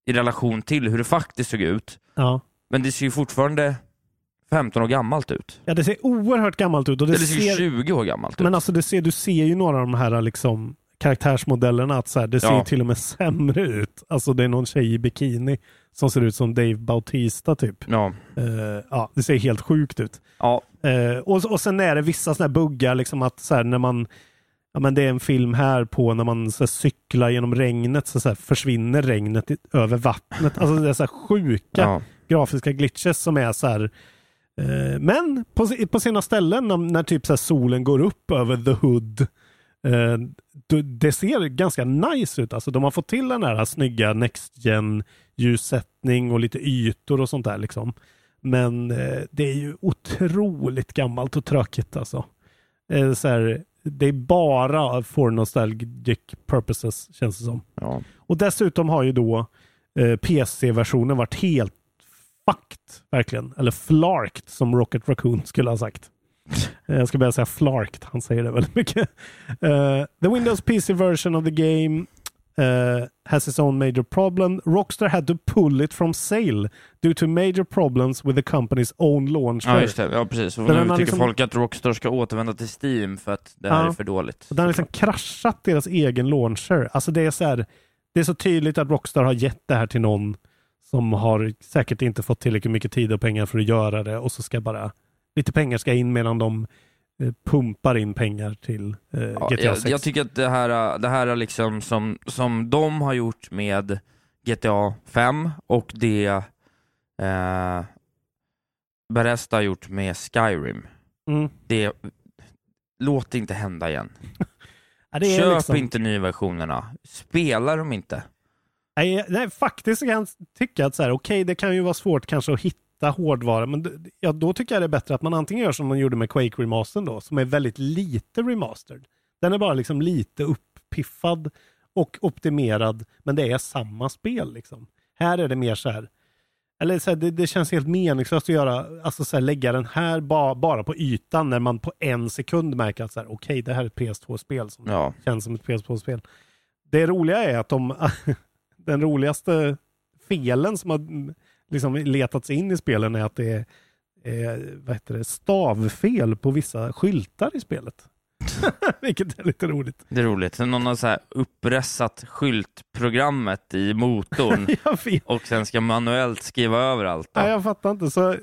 i relation till hur det faktiskt såg ut,
ja.
men det ser ju fortfarande 15 år gammalt ut.
ja, det ser oerhört gammalt ut. Och det
Eller det ser ju
ser,
20 år gammalt ut.
Men alltså du ser, du ser ju några av de här liksom, karaktärsmodellerna att så här, det ser
Ja.
ju till och med sämre ut. Alltså det är någon tjej i bikini som ser ut som Dave Bautista typ.
ja.
Eh, ja, det ser helt sjukt ut.
ja,
Eh, och, och sen är det vissa sådana här buggar, liksom att så här, när man Ja, men det är en film här på när man så här, cyklar genom regnet så, så här, försvinner regnet i, över vattnet. Alltså det är så här, sjuka
Ja.
grafiska glitches som är så här. Eh, men på, si- på sina ställen när, när typ så här, solen går upp över the hood. Eh, då- det ser ganska nice ut. Alltså, de har fått till den här snygga next gen ljussättning och lite ytor och sånt där. Liksom. Men eh, det är ju otroligt gammalt och tråkigt alltså. Eh, så här, det är bara for nostalgic purposes känns det som.
Ja.
Och dessutom har ju då eh, PC-versionen varit helt fucked, verkligen. Eller flarked, som Rocket Raccoon skulle ha sagt. Eh, Jag ska börja säga flarked, han säger det väldigt mycket. Eh, the Windows PC version of the game eh, has its own major problem. Rockstar had to pull it from sale due to major problems with the company's own launcher.
ja, just det. Ja, precis. Och
Men
nu
den
tycker
har liksom-
folk att Rockstar ska återvända till Steam för att det här
Ja.
är för dåligt.
Och den har liksom kraschat deras egen launcher. Alltså det är så här, det är så tydligt att Rockstar har gett det här till någon som har säkert inte fått tillräckligt mycket tid och pengar för att göra det och så ska bara lite pengar ska in medan de eh, pumpar in pengar till eh,
Ja,
GTA 6.
jag, jag tycker att det här, det här är liksom som, som de har gjort med GTA 5 och det eh, Beresta har gjort med Skyrim.
mm.
Det, låt det inte hända igen.
ja, det är
Köp
liksom,
inte nyversionerna. Spela dem inte.
Nej, nej, faktiskt kan jag tycka att så här, okej, det kan ju vara svårt kanske att hitta hårdvara, men d- ja, då tycker jag det är bättre att man antingen gör som man gjorde med Quake Remastern då, som är väldigt lite remastered. Den är bara liksom lite upppiffad och optimerad, men det är samma spel liksom. Här är det mer så här, eller så här, det, det känns helt meningslöst att göra, alltså så här, lägga den här ba, bara på ytan när man på en sekund märker att så här, okej, det här är ett PS2-spel som
Ja.
känns som ett PS2-spel. Det roliga är att de, den roligaste felen som har liksom letats in i spelen är att det är eh, vad heter det, stavfel på vissa skyltar i spelet. Vilket är lite roligt.
Det är roligt. Sen någon har så här uppressat skyltprogrammet i motorn
Jag vet
och sen ska manuellt skriva över allt. då.
Nej, jag fattar inte. Så, eh,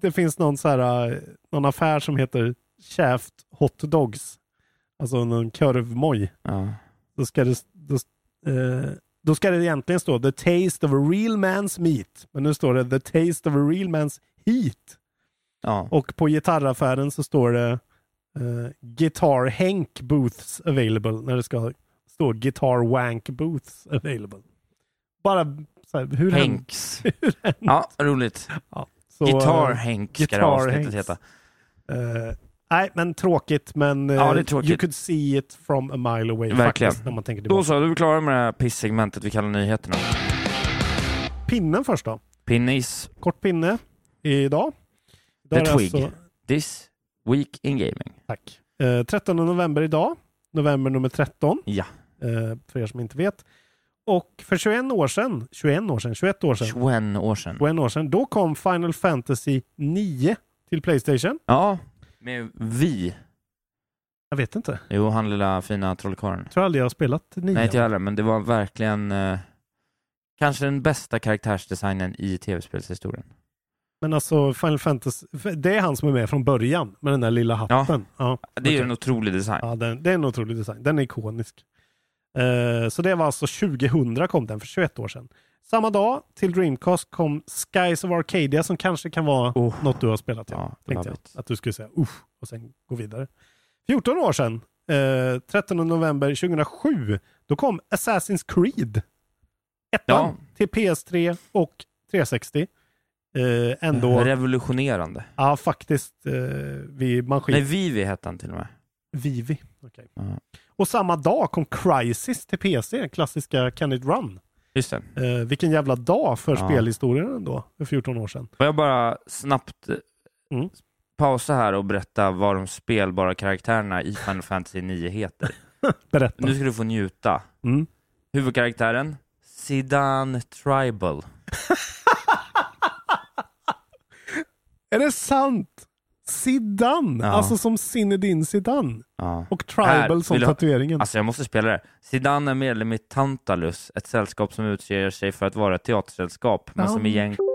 det finns någon, så här, eh, någon affär som heter Shaft Hot Dogs. Alltså någon korvmoj.
Ja.
Då ska det, då, eh, då ska det egentligen stå The Taste of a Real Man's Meat. Men nu står det The Taste of a Real Man's Heat.
Ja.
Och på gitarraffären så står det eh, Guitar Hank Booths Available. När det ska stå Guitar Wank Booths Available. Bara Så här, hur hände-
Henks. Ja, roligt.
så,
Gitarr
eh,
Henk ska det
Guitar
avsnittet
Hanks.
heta.
eh, nej, men tråkigt, men eh,
Ja, det är tråkigt.
you could see it from a mile away.
Verkligen.
Faktiskt, när man tänker
Då
tillbaka.
så, då är vi klara med det här pissegmentet vi kallar nyheterna.
Pinnen först då.
Pinnis
Kort pinne idag.
The
Idag är alltså- det
Twig. this week in gaming.
tack. Eh, 13 november idag. November nummer 13.
Ja.
eh, för er som inte vet. Och för 21 år sedan, 21 år sedan, 21 år sedan,
21 år sedan.
21 år sedan, då kom Final Fantasy 9 till Playstation.
Ja, med vi.
Jag vet inte.
Jo, han lilla fina trollkarlen.
Jag tror aldrig jag har spelat 9.
Nej, inte jag heller, men det var verkligen eh, kanske den bästa karaktärsdesignen i tv-spelshistorien.
Men alltså Final Fantasy, det är han som är med från början med den där lilla hatten. Ja,
Det är ju en otrolig design.
ja den, det är en otrolig design. Den är ikonisk. Eh, så det var alltså 2000 kom den för 21 år sedan. Samma dag till Dreamcast kom Skies of Arcadia som kanske kan vara
Oh.
något du har spelat. Ja.
Ja, det var
tänkte jag
bit.
att du skulle säga usch och sen gå vidare. 14 år sedan, eh, 13 november 2007, då kom Assassin's Creed. Ettan
Ja.
till PS3 och 360. Eh, ändå,
Mm.
ja
Revolutionerande.
faktiskt, eh, vi, man
Nej,
skiter
Vivi hette han till och med.
Vivi. Okej.
Ja.
Och samma dag kom Crisis till PC, klassiska Can It Run.
Just det.
Eh, vilken jävla dag för
Ja.
spelhistorien ändå, för 14 år sedan.
Får jag bara snabbt eh,
Mm.
pausa här och berätta vad de spelbara karaktärerna i Final Fantasy 9 heter.
Berätta.
Nu ska du få njuta.
Mm.
Huvudkaraktären, Sidan Tribal.
Är det sant? Sidan,
Ja.
alltså som Zinedine Zidane.
Ja.
Och tribal
Här,
som
vill du ha-
tatueringen.
Alltså jag måste spela det här. Zidane är medlem i Tantalus, ett sällskap som utger sig för att vara ett teatersällskap, men som egentligen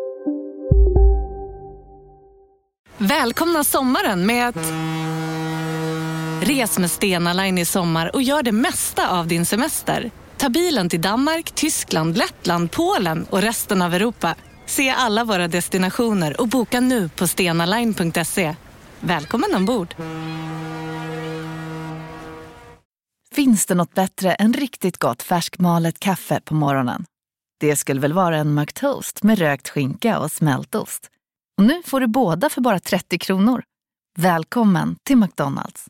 Välkomna sommaren med att... Res med Stena Line i sommar och gör det mesta av din semester. Ta bilen till Danmark, Tyskland, Lettland, Polen och resten av Europa. Se alla våra destinationer och boka nu på stenaline.se. Välkommen ombord!
Finns det något bättre än riktigt gott färskmalet kaffe på morgonen? Det skulle väl vara en McToast med rökt skinka och smältost? Och nu får du båda för bara 30 kronor. Välkommen till McDonalds!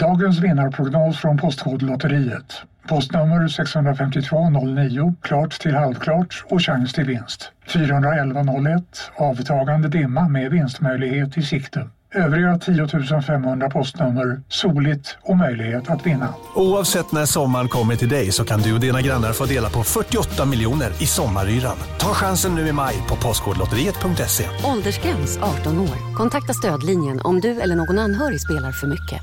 Dagens vinnarprognos från Postkodlotteriet. Postnummer 65209, klart till halvklart och chans till vinst. 41101, avtagande dimma med vinstmöjlighet i sikte. Övriga 10 500 postnummer, soligt och möjlighet att vinna.
Oavsett när sommaren kommer till dig så kan du och dina grannar få dela på 48 miljoner i sommaryran. Ta chansen nu i maj på Postkodlotteriet.se.
Åldersgräns 18 år. Kontakta stödlinjen om du eller någon anhörig spelar för mycket.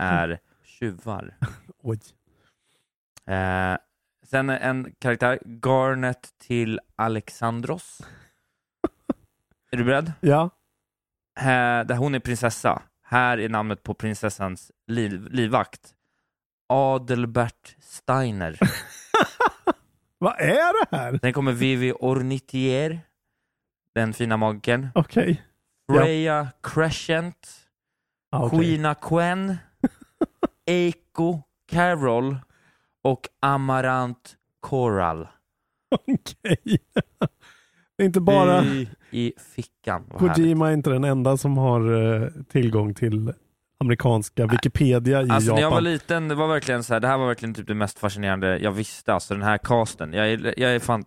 är tjuvar.
Oj.
Eh, sen en karaktär, Garnet till Alexandros. är du beredd?
Ja.
Här, där hon är prinsessa. Här är namnet på prinsessans liv, livvakt. Adelbert Steiner.
Vad är det här?
Sen kommer Vivi Ornithier, den fina magen.
Okej. Ja.
Freya Crescent,
Ja, okej.
Queena Quen, Eiko Carol och Amarant Coral.
Okej. Det är inte bara
Fy i fickan. Vad härligt.
Kojima är inte den enda som har eh, tillgång till amerikanska Wikipedia i
Alltså när jag var
Japan.
liten, det var verkligen så här, det här var verkligen typ det mest fascinerande jag visste, alltså den här casten. Jag är, jag är fan,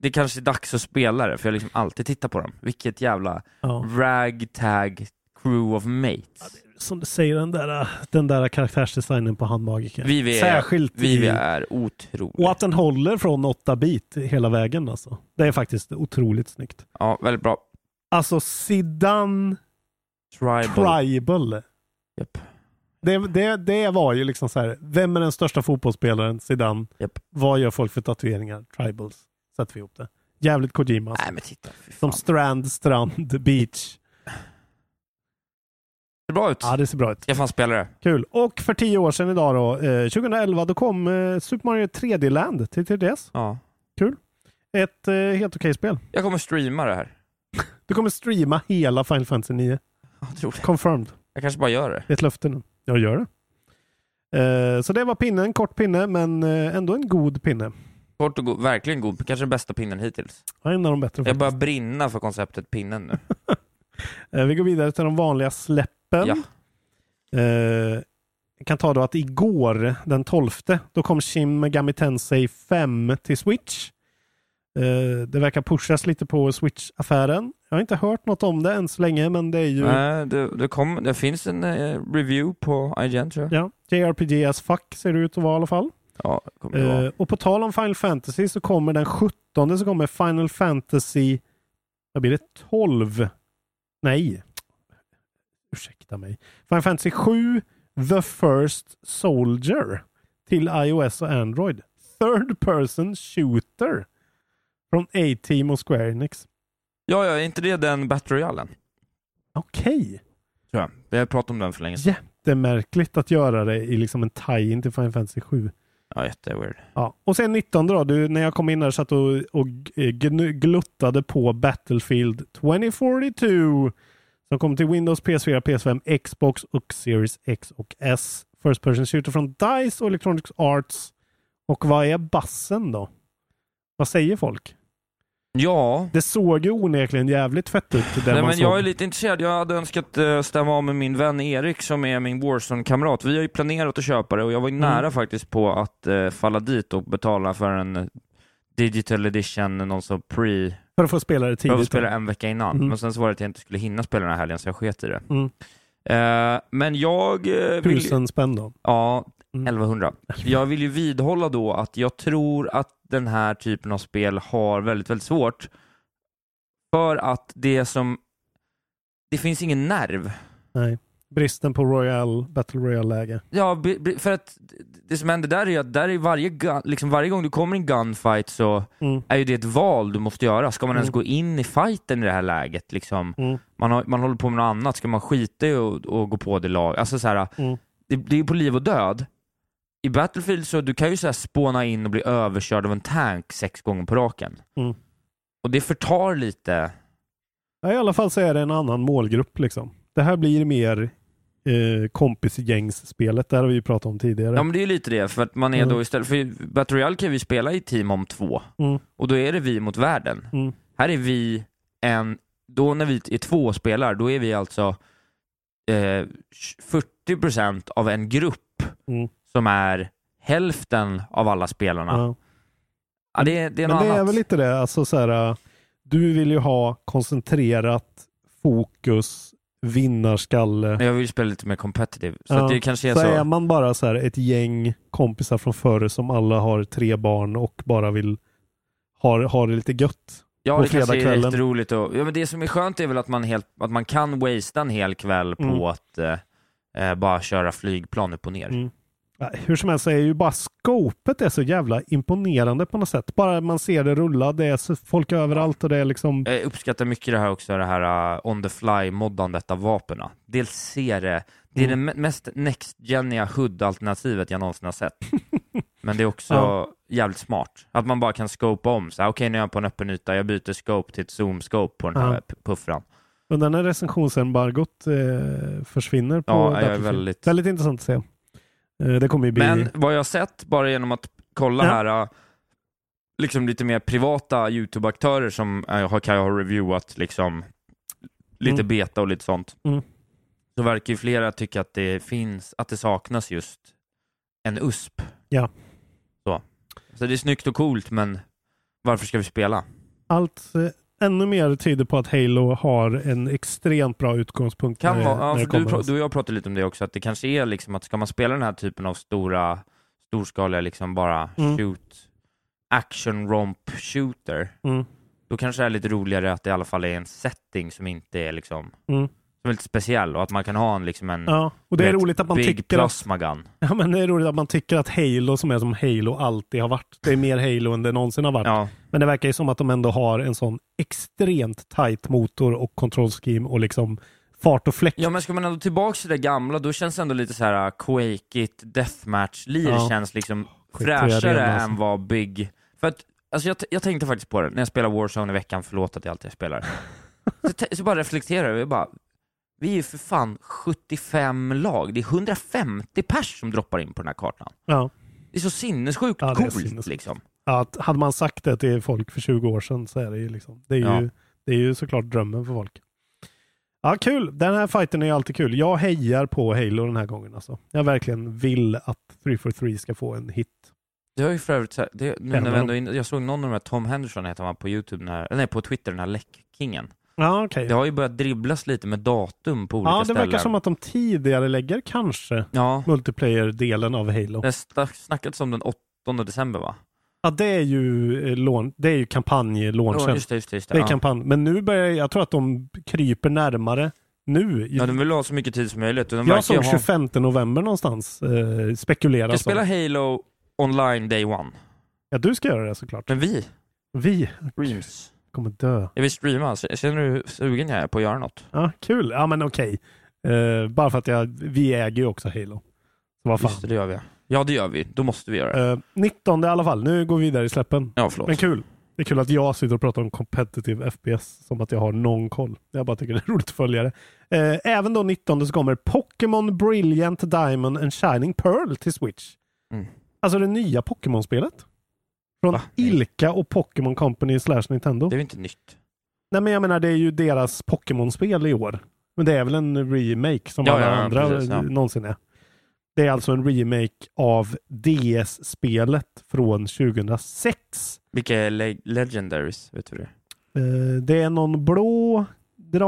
det kanske är dags att spela det, för jag har liksom alltid tittar på dem. Vilket jävla
Ja.
ragtag crew of mates.
Som du säger, den där, den där karaktärsdesignen på handmagiken.
Vivi är,
Särskilt
Vivi
i...
är otrolig.
Och att den håller från 8 bit hela vägen alltså. Det är faktiskt otroligt snyggt.
Ja, väldigt bra.
Alltså Zidane
Tribal.
Tribal.
Japp.
Det, det, det var ju liksom så här, vem är den största fotbollsspelaren? Zidane.
Japp.
Vad gör folk för tatueringar? Tribals. Sätter vi ihop det. Jävligt Kojima. alltså.
Nej men titta, fy
Som
fan.
strand, strand, beach.
ser bra ut.
Ja, det ser bra ut.
Ska fan spela det.
Kul. Och för tio år sedan idag då, eh, 2011, då kom eh, Super Mario 3D Land till 3DS.
Ja.
Ett eh, helt okej spel.
Jag kommer streama det här.
Du kommer streama hela Final Fantasy 9.
Jag tror det.
Confirmed.
Jag kanske bara gör det.
Det är ett löfte nu. Jag gör det. Eh, Så det var pinnen, kort pinne, men eh, ändå en god pinne.
Kort och god, verkligen god. Kanske den bästa pinnen hittills.
Ja, En av de bättre.
Jag
faktiskt.
börjar brinna för konceptet pinnen nu.
Eh, Vi går vidare till de vanliga släppen.
Ja.
Eh, jag kan ta då att igår, den 12, då kom Shin Megami Tensei 5 till Switch. Eh, det verkar pushas lite på Switch-affären. Jag har inte hört något om det än så länge, men det är ju
Nej, det, det, kom, det finns en eh, review på IGN tror jag.
ja, JRPG as fuck ser det ut att vara i alla fall.
Ja, det kommer det vara.
Eh, och på tal om Final Fantasy så kommer den 17 så kommer Final Fantasy, vad blir det, 12? Nej. Ursäkta mig. Final Fantasy 7, The First Soldier till iOS och Android. Third person shooter från A-Team och Square Enix.
Ja, ja, är inte det den Battle Royalen?
Okej.
Tror jag. Vi har pratat om den för länge sedan.
Jättemärkligt att göra det i liksom en tie-in till Final Fantasy 7.
Ja, jätteweird.
Ja. Och sen 19 då, du, när jag kom in här satt och, och gnu- gluttade på Battlefield 2042 som kommer till Windows, PS4, PS5, Xbox och Series X och S. First Person Shooter från DICE och Electronic Arts. Och vad är bassen då? Vad säger folk?
Ja,
Det såg ju onekligen jävligt fett ut. Det
Nej,
man
men
såg.
jag är lite intresserad. Jag hade önskat eh, stämma av med min vän Erik som är min Warzone-kamrat. Vi har ju planerat att köpa det och jag var ju
Mm.
nära faktiskt på att eh, falla dit och betala för en eh, digital edition, någon som pre...
För att få spela det
Jag
tidigt.
spela en vecka innan,
Mm.
men sen så var det att jag inte skulle hinna spela den här helgen så jag sket i det.
Mm.
Eh, men jag... eh, vill-
Tusen spänn då.
Ja,
Mm.
1100. Jag vill ju vidhålla då att jag tror att den här typen av spel har väldigt, väldigt svårt. För att det som... Det finns ingen nerv.
Nej. Bristen på Royal, Battle Royale-läge.
Ja, be- be- för att det som händer där är ju att där är varje, gun, liksom varje gång du kommer i en gunfight så
Mm.
är ju det ett val du måste göra. Ska man ens
Mm.
gå in i fighten i det här läget? Liksom?
Mm.
Man, har, man håller på med något annat, ska man skita i och, och gå på det lag? Alltså så här,
Mm.
det, det är på liv och död. I Battlefield så du kan ju så här spåna in och bli överkörd av en tank sex gånger på raken.
Mm.
Och det förtar lite.
Ja, I alla fall så är det en annan målgrupp. Liksom. Det här blir mer eh, kompisgängsspelet. Det här har vi ju pratat om tidigare.
Ja men det är ju lite det, för att man är
Mm.
då istället för Battle Royale kan vi spela i team om två.
Mm.
Och då är det vi mot världen.
Mm.
Här är vi en, då när vi är två och spelar, då är vi alltså eh, 40% av en grupp
Mm.
som är hälften av alla spelarna. Ja.
Ja.
det, det är
Men
något
det är
annat.
väl lite det. Alltså, så här, eh, du vill ju ha koncentrerat fokus, vinnarskalle.
Men Jag vill spela lite mer competitive, så
Ja.
att det kanske är
så,
så.
är man bara så här, ett gäng kompisar från förr som alla har tre barn och bara vill ha, ha det lite gött.
ja,
på
det kanske är
fredagskvällen.
rätt roligt. Och, ja, men det som är skönt är väl att man, helt, att man kan wastea en hel kväll på
Mm.
att eh, eh, bara köra flygplan upp och ner.
Mm. Ja, Hur som helst så är ju bara skopet är så jävla imponerande på något sätt. Bara man ser det rulla, det är så- folk överallt och det är liksom
Jag uppskattar mycket det här också, det här eh, on the fly moddandet av vapena. Dels ser det, det är
Mm.
det me- mest next-geniga HUD-alternativet jag någonsin har sett. Men det är också
Ja.
jävligt smart. Att man bara kan scopa om. så här, Okej, nu är jag på en öppen yta, jag byter scope till ett zoom-scope på den här
Ja.
p- puffran.
Undrar när recensionsembargot eh, försvinner. På
Ja, jag är
Battlefield.
väldigt-
väldigt intressant att se. Eh, det kommer ju bli...
Men vad jag har sett, bara genom att kolla
Ja.
här, eh, liksom lite mer privata YouTube-aktörer som eh, har, kan jag ha reviewat liksom lite
Mm.
beta och lite sånt.
Mm.
Så verkar ju flera tycka att det finns, att det saknas just en USP.
Ja.
Så. Så det är snyggt och coolt, men varför ska vi spela?
Allt eh, ännu mer tyder på att Halo har en extremt bra utgångspunkt.
Kan
när, det-
vara,
när
ja,
det
för du,
kommer.
pra- du och jag pratade lite om det också, att det kanske är liksom att ska man spela den här typen av stora, storskaliga liksom bara
Mm.
shoot, action romp shooter,
Mm.
då kanske det är lite roligare att det i alla fall är en setting som inte är liksom,
Mm.
som är lite speciell och att man kan ha en liksom en
Ja, och det är
du vet,
roligt att man
big
tycker att,
plasma gun.
ja, men det är roligt att man tycker att Halo som är som Halo alltid har varit. Det är mer Halo än det någonsin har varit.
Ja,
Men det verkar ju som att de ändå har en sån extremt tight motor och kontrollscheme och liksom fart och fläkt.
ja, men ska man ändå tillbaka till det gamla, då känns det ändå lite så här quakeigt deathmatch-lir
Ja.
känns liksom
Skit i
fräschare
arena, alltså.
än vad big... För att, alltså jag, t- jag tänkte faktiskt på det när jag spelar Warzone i veckan, förlåt att jag alltid spelar. så, t- så bara reflekterar jag, jag bara, Vi är ju för fan 75 lag. Det är 150 pers som droppar in på den här kartan.
Ja.
Det är så sinnessjukt
Ja, det är
coolt
sinnessjukt.
liksom.
Ja, Att, hade man sagt det till folk för 20 år sedan så är det ju liksom, det är ju,
Ja.
det är ju såklart drömmen för folk. Ja, kul. Den här fighten är alltid kul. Jag hejar på Halo den här gången alltså. Jag verkligen vill att 343 ska få en hit.
Det har ju för övrigt, så här, det, nu
En
när
av
vi ändå, är inne- jag såg någon av de här, Tom Henderson heter han på YouTube, den här, nej på Twitter, den här läckkingen.
Ja, okej.
Det har ju börjat dribblas lite med datum på olika
Ja, det
ställen.
verkar som att de tidigare lägger kanske
Ja,
multiplayer-delen av Halo.
det har sta- snackats om den 8 december va?
Ja, det är ju, eh, lån, det är ju kampanj-launchen.
just det, just det. Just det.
Det är
ja.
kampanj. Men nu börjar jag, jag tror att de kryper närmare nu.
ja, de vill ha så mycket tid som möjligt. och De
jag
verkar ju
såg
ha-
25 november någonstans, eh, spekuleras
Jag
om.
spelar Halo online day one.
Ja, du ska göra det såklart.
Men vi
Vi
streams.
kommer dö.
Jag vill streama. Så- Känner du hur sugen jag är på att göra något?
Ja, kul. Ja, men okej. Eh, bara för att jag, vi äger ju också Halo. Så vad fan.
Just det, det gör vi. Ja, det gör vi. Då måste vi göra det.
Eh, 19 i alla fall. Nu går vi vidare i släppen.
Ja, förlåt.
Men kul. Det är kul att jag sitter och pratar om competitive FPS som att jag har någon koll. Jag bara tycker det är roligt att följa det. Eh, även då 19 så kommer Pokémon Brilliant Diamond and Shining Pearl till Switch.
Mm.
Alltså det nya Pokémon-spelet. Från
Va? Nej.
Ilka och Pokémon Company slash Nintendo.
Det är väl inte nytt?
Nej men jag menar det är ju deras Pokémon-spel i år. Men det är väl en remake som
Ja,
alla
ja, ja,
andra
precis, ja.
någonsin är. Det är alltså en remake av DS-spelet från 2006.
Vilka är le- legendaries? Vet du det?
Eh, Det är någon blå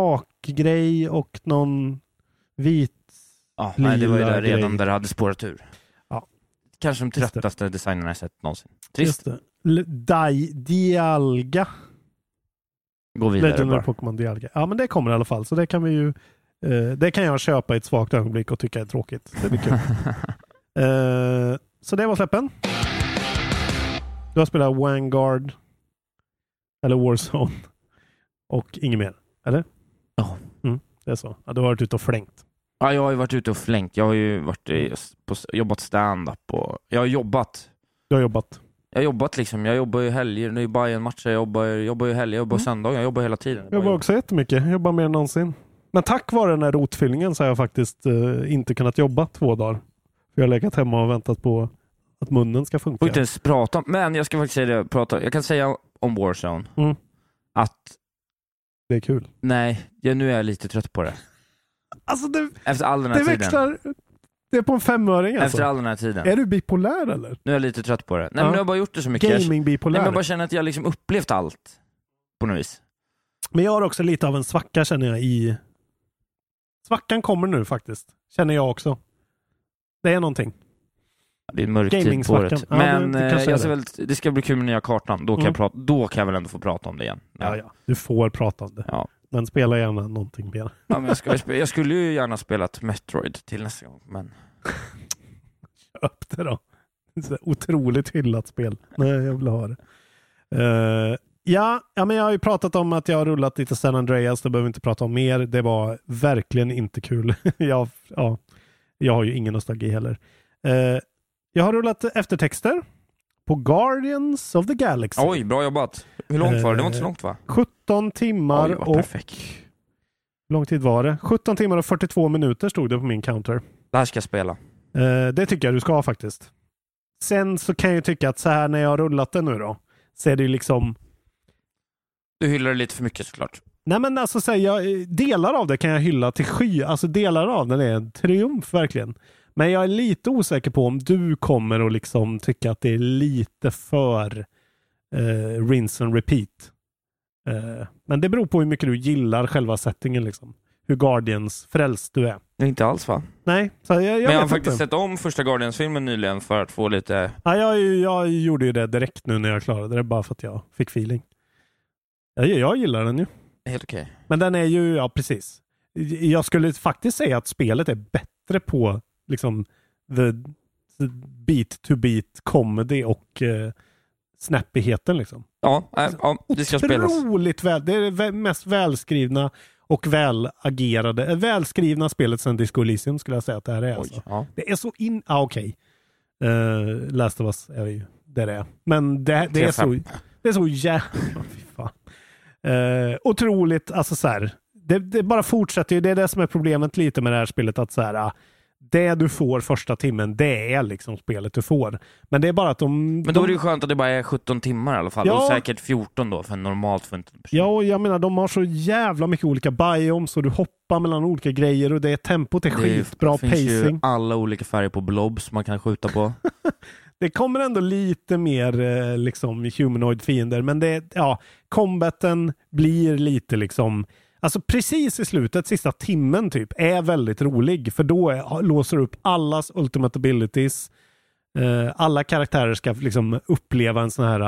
drakgrej och någon vit.
Ja, nej, det var ju
Lila
där redan
grej.
där det hade spårat ur.
Ja.
Kanske de
Just det.
tröttaste designerna jag sett någonsin. Trist.
Just det. L- Di- Dialga.
Gå vidare
Legendary
bara.
Pokémon Dialga. Ja men det kommer i alla fall så det kan vi ju. eh, det kan jag köpa i ett svagt ögonblick och tycka är tråkigt. Det blir kul. Eh, så det var släppen. Du har spelat Vanguard. Eller Warzone. Och inget mer. Eller?
Ja.
Mm, det är så. Ja, du har varit ute och flängt.
Ja, jag har ju varit ute och flängt. Jag har ju varit i, på, jobbat stand-up och jag har jobbat.
Du har jobbat.
Jag har jobbat liksom. Jag jobbar ju helger. Nu är bayern matcher Jag jobbar, jag jobbar ju helger. Jag jobbar söndagar. Jag jobbar hela tiden.
Mm. Jag jobbar också jättemycket. Jag jobbar mer än någonsin. Men tack vare den här rotfyllningen så har jag faktiskt eh, inte kunnat jobba två dagar. För jag har legat hemma och väntat på att munnen ska funka.
får inte ens prata om, men jag ska faktiskt säga det, prata, jag kan säga om Warzone
Mm.
att
Det är kul.
nej, ja, nu är jag lite trött på det.
Alltså det,
Efter all den här
det
tiden.
växlar. Det är på en femöring alltså.
Efter all den här tiden.
Är du bipolär eller?
Nu är jag lite trött på det. Nej
Ja.
men nu har jag bara gjort det så mycket. Jag- Nej,
Gaming-bipolär.
men jag
Men,
bara känner att jag liksom upplevt allt. På något vis.
jag har också lite av en svacka känner jag i... Svackan kommer nu faktiskt. Känner jag också. Det är någonting.
Det är en mörk tid på
Gaming-svackan.
året.
Ja,
men
det- det kanske
eh,
är
jag ser
det.
väl, det ska bli kul med nya kartan. Då kan,
Mm.
jag prata, då kan jag väl ändå få prata om det igen.
Ja, ja. Du får prata om det.
Ja.
Men spela gärna någonting mer.
Ja, men jag, ska, väl spe- jag skulle ju gärna spelat Metroid till nästa gång, men
upp det då. Så där otroligt hyllat spel. Nej, jag vill ha det. Eh, ja, ja, men jag har ju pratat om att jag har rullat lite San Andreas. Det behöver vi inte prata om mer. Det var verkligen inte kul. jag, ja, jag har ju ingen nostalgi heller. Eh, jag har rullat eftertexter på Guardians of the Galaxy.
oj, bra jobbat. Hur långt var det? Det var inte så långt va?
17 timmar
Oj, vad
Eh, och...
perfekt.
Hur lång tid var det? 17 timmar och 42 minuter stod det på min counter.
Det här ska jag spela.
Eh, det tycker jag du ska ha faktiskt. Sen så kan jag ju tycka att så här när jag har rullat det nu då, så är det ju liksom...
Du hyllar det lite för mycket såklart.
Nej men alltså så här, jag, eh, delar av det kan jag hylla till sky. Alltså delar av den är en triumf verkligen. Men jag är lite osäker på om du kommer att liksom tycka att det är lite för eh, rinse and repeat. Eh, men det beror på hur mycket du gillar själva settingen liksom. Hur Guardians frälst du är.
Inte alls va?
Nej, så jag, jag
Men jag har
vet
faktiskt
inte.
sett om första Guardians-filmen nyligen för att få lite...
Ja, jag, jag gjorde ju det direkt nu när jag klarade det, bara för att jag fick feeling. Jag, jag gillar den ju.
Helt okej.
Men den är ju, ja precis. Jag skulle faktiskt säga att spelet är bättre på liksom the, the beat to beat comedy och eh, snappigheten liksom.
Ja, äh, ja, det ska spelas.
Otroligt väl, det är det vä- mest välskrivna och välagerade, eh, välskrivna spelet sedan Disco Elysium skulle jag säga att det här är. Alltså.
Oj, ja.
Det är så in... Ah, Okej. Okay. Last of us är ju där det är. Men det, det, är, så,
Tre-fem.
det är så jävla... Fy fan. Eh, otroligt, alltså så här. det, det bara fortsätter ju. Det är det som är problemet lite med det här spelet. Att så här, ah, det du får första timmen, det är liksom spelet du får. Men det är bara att de...
Men då är
de,
det ju skönt att det bara är 17 timmar i alla fall.
Ja.
Och säkert 14 då för en normalt funtad person.
Ja, och jag menar, de har så jävla mycket olika biomes och du hoppar mellan olika grejer och det är tempot är
Det är ju-
skitbra
finns ju
pacing.
alla olika färger på blobs man kan skjuta på.
Det kommer ändå lite mer eh, liksom humanoid fiender, men det, ja, combaten blir lite liksom, alltså precis i slutet, sista timmen typ, är väldigt rolig, för då är, låser du upp allas ultimate abilities. Eh, alla karaktärer ska liksom uppleva en sån här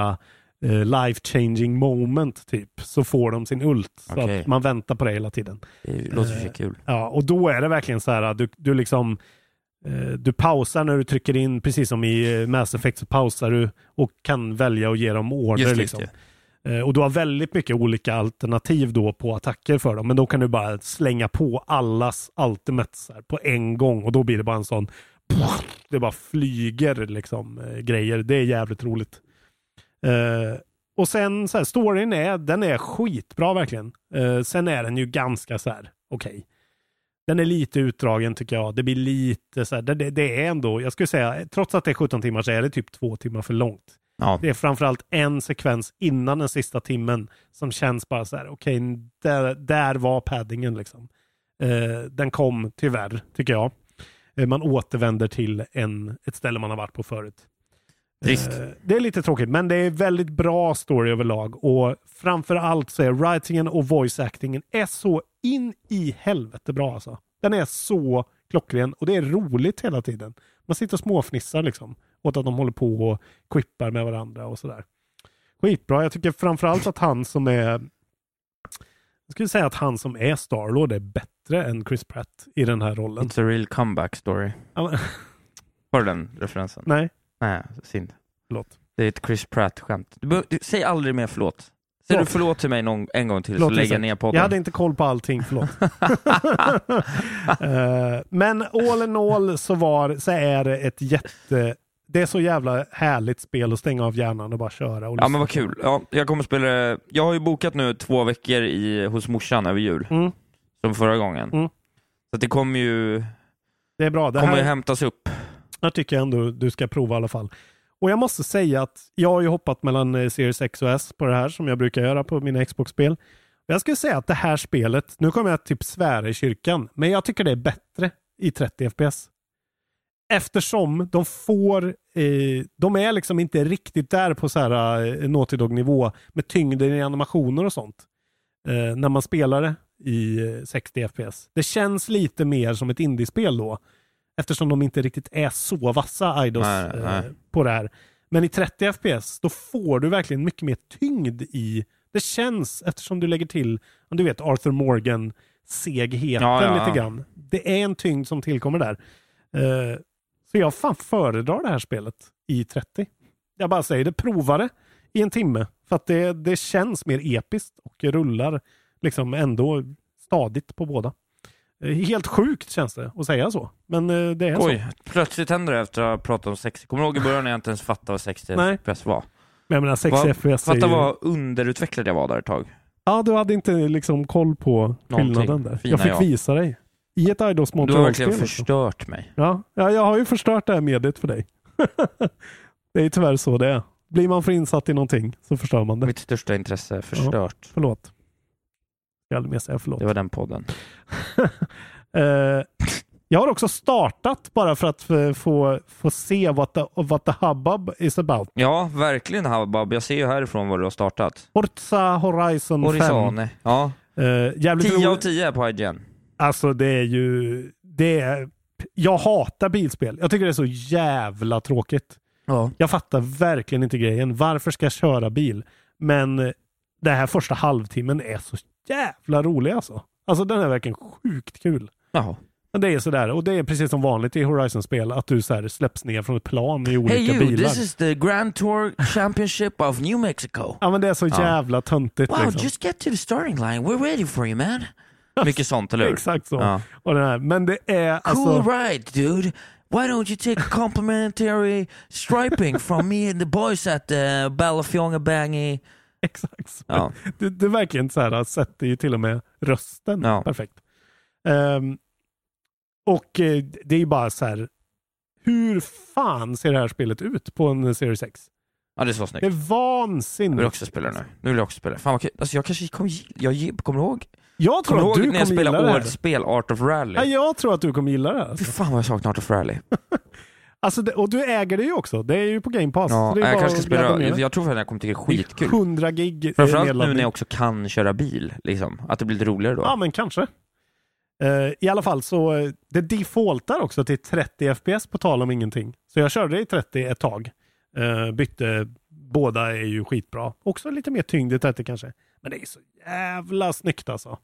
eh, life changing moment typ, så får de sin ult. Så
Okej.
att man väntar på det hela tiden.
Det är ju- låter ju så kul.
Ja, och då är det verkligen så här, du, du liksom eh, du pausar när du trycker in, precis som i eh, Mass Effect så pausar du och kan välja att ge dem order.
Just det,
liksom.
just
Eh, Och du har väldigt mycket olika alternativ då på attacker för dem, men då kan du bara slänga på allas ultimates här på en gång och då blir det bara en sån det bara flyger liksom eh, grejer. Det är jävligt roligt. Eh, och sen så här, storyn är, den är skitbra verkligen. Eh, sen är den ju ganska så här, okej. Den är lite utdragen tycker jag. Det blir lite så här, det, det, det är ändå, jag skulle säga, trots att det är 17 timmar så är det typ två timmar för långt.
Ja.
Det är framförallt en sekvens innan den sista timmen som känns bara så här, okej, där, där var paddingen liksom. Eh, den kom tyvärr, tycker jag. Eh, man återvänder till en, ett ställe man har varit på förut.
Trist.
Eh, det är lite tråkigt, men det är väldigt bra story överlag och framförallt så är writingen och voice actingen är så in i helvete bra alltså. Den är så klockren och det är roligt hela tiden. Man sitter och småfnissar liksom åt att de håller på och quippar med varandra och sådär. Skitbra. Jag tycker framförallt att han som är jag skulle säga att han som är Starlord är bättre än Chris Pratt i den här rollen.
It's a real comeback story.
Ja, men-
Var det den referensen?
Nej,
Nej, synd.
förlåt.
Det är ett Chris Pratt-skämt. Du, bör- du, säg aldrig mer förlåt. Säger du
Förlåt.
förlåt till mig någon, en gång till
Förlåt,
så lägger jag
Isak.
ner podden.
Jag hade inte koll på allting, förlåt. Eh, Men all in all så, var, så är det ett jätte... Det är så jävla härligt spel att stänga av hjärnan och bara köra. Och
Ja men
lyssna.
vad kul. Ja, jag kommer spela det- Jag har ju bokat nu två veckor i, hos morsan över jul.
Mm.
Som förra gången.
Mm.
Så att det kommer ju,
Det är bra. Det
kommer ju
här,
hämtas upp.
här tycker jag ändå du ska prova i alla fall. Och jag måste säga att jag har ju hoppat mellan eh, Series X och S på det här som jag brukar göra på mina Xbox-spel. Jag skulle säga att det här spelet, nu kommer jag typ svära i kyrkan, men jag tycker det är bättre i 30 FPS. Eftersom de får, eh, de är liksom inte riktigt där på så här eh, Naughty Dog-nivå med tyngden i animationer och sånt. Eh, när man spelar det i eh, 60 FPS. Det känns lite mer som ett indiespel då. Eftersom de inte riktigt är så vassa, Idos,
Nej, nej.
Eh, på det här. Men i 30 FPS, då får du verkligen mycket mer tyngd i... Det känns, eftersom du lägger till, om du vet, Arthur Morgan-segheten
Ja, ja, ja.
lite grann. Det är en tyngd som tillkommer där. Eh, så jag fan föredrar det här spelet i 30. Jag bara säger det, prova det i en timme. För att det, det känns mer episkt och rullar liksom ändå stadigt på båda. Eh, Helt sjukt känns det att säga så. Men eh, det är så.
Oj, plötsligt händer det efter att ha pratat om 60. Kommer du ihåg i början när jag inte ens fattade vad 60
Nej.
FPS var?
Men jag menar 60
Vad-
FPS är ju...
Fatta vad underutvecklad jag var där ett tag.
Ja, du hade inte liksom koll på
Någonting.
skillnaden där.
Fina
Jag fick
jag.
visa dig. I ett Idos
Du har
Montreal-spel.
verkligen
också.
förstört mig.
Ja. ja, jag har ju förstört det här mediet för dig. det är ju tyvärr så det är. Blir man för insatt i någonting så förstör man det.
Mitt största intresse förstört.
Förlåt. Jag hade med säga förlåt.
Det var den podden.
Eh, jag har också startat bara för att eh, få, få se what the, what the hubbub is about.
Ja, verkligen Habab. Jag ser ju härifrån vad du har startat.
Forza Horizon 5.
Horizone. Ja.
Eh, jävligt
10 av
roligt.
10 på IGN.
Alltså det är ju... Det är, jag hatar bilspel. Jag tycker det är så jävla tråkigt.
Ja.
Jag fattar verkligen inte grejen. Varför ska jag köra bil? Men eh, den här första halvtimmen är så jävla rolig alltså. Alltså den är verkligen sjukt kul.
Jaha.
Men Det är sådär, och det är precis som vanligt i Horizon-spel, att du så här släpps ner från ett plan i olika
Hey you,
bilar.
this is the Grand Tour Championship of New Mexico.
Ja men det är så
Ja.
jävla töntigt
Wow,
liksom.
just get to the starting line. We're ready for you man. Mycket sånt, eller hur?
Exakt så.
Ja.
Och den här. Men det är
Cool
alltså...
ride dude. Why don't you take a complimentary striping from me and the boys at the Ballafjonga Bangi
Exakt så.
uh, Ja.
Det, det är verkligen så här, sätter ju till och med rösten
Ja.
perfekt. Ehm, och eh, det är ju bara så här, hur fan ser det här spelet ut på en Series X?
ja, det är så
Det
snyggt.
är
Jag
vansinnigt.
vill också spela nu. Nu vill jag också spela. Fan vad kul. Alltså jag kanske kommer, gi- jag gi- kommer ihåg,
Jag tror
kommer
att du
ihåg när
kommer gilla
jag
det
spelade
här.
årets spel Art of Rally.
Ja, jag tror att du kommer gilla det här.
Fy
Alltså.
fan vad jag saknar Art of Rally.
Alltså det, och du äger det ju också. Det är ju på Game Pass.
Ja,
så Alltså, det är
jag
bara
kanske ska
att ladda
spela,
ner det.
jag tror att jag kommer tycka det är skitkul.
100 gig eh,
Framförallt nu
nedladdning.
när jag också kan köra bil, liksom. Att det blir lite roligare då.
Ja, men kanske. Eh, I alla fall så, eh, det defaultar också till 30 FPS på tal om ingenting. Så jag körde i 30 ett tag. Eh, bytte, båda är ju skitbra. Också lite mer tyngd i 30 kanske. Men det är så jävla snyggt alltså.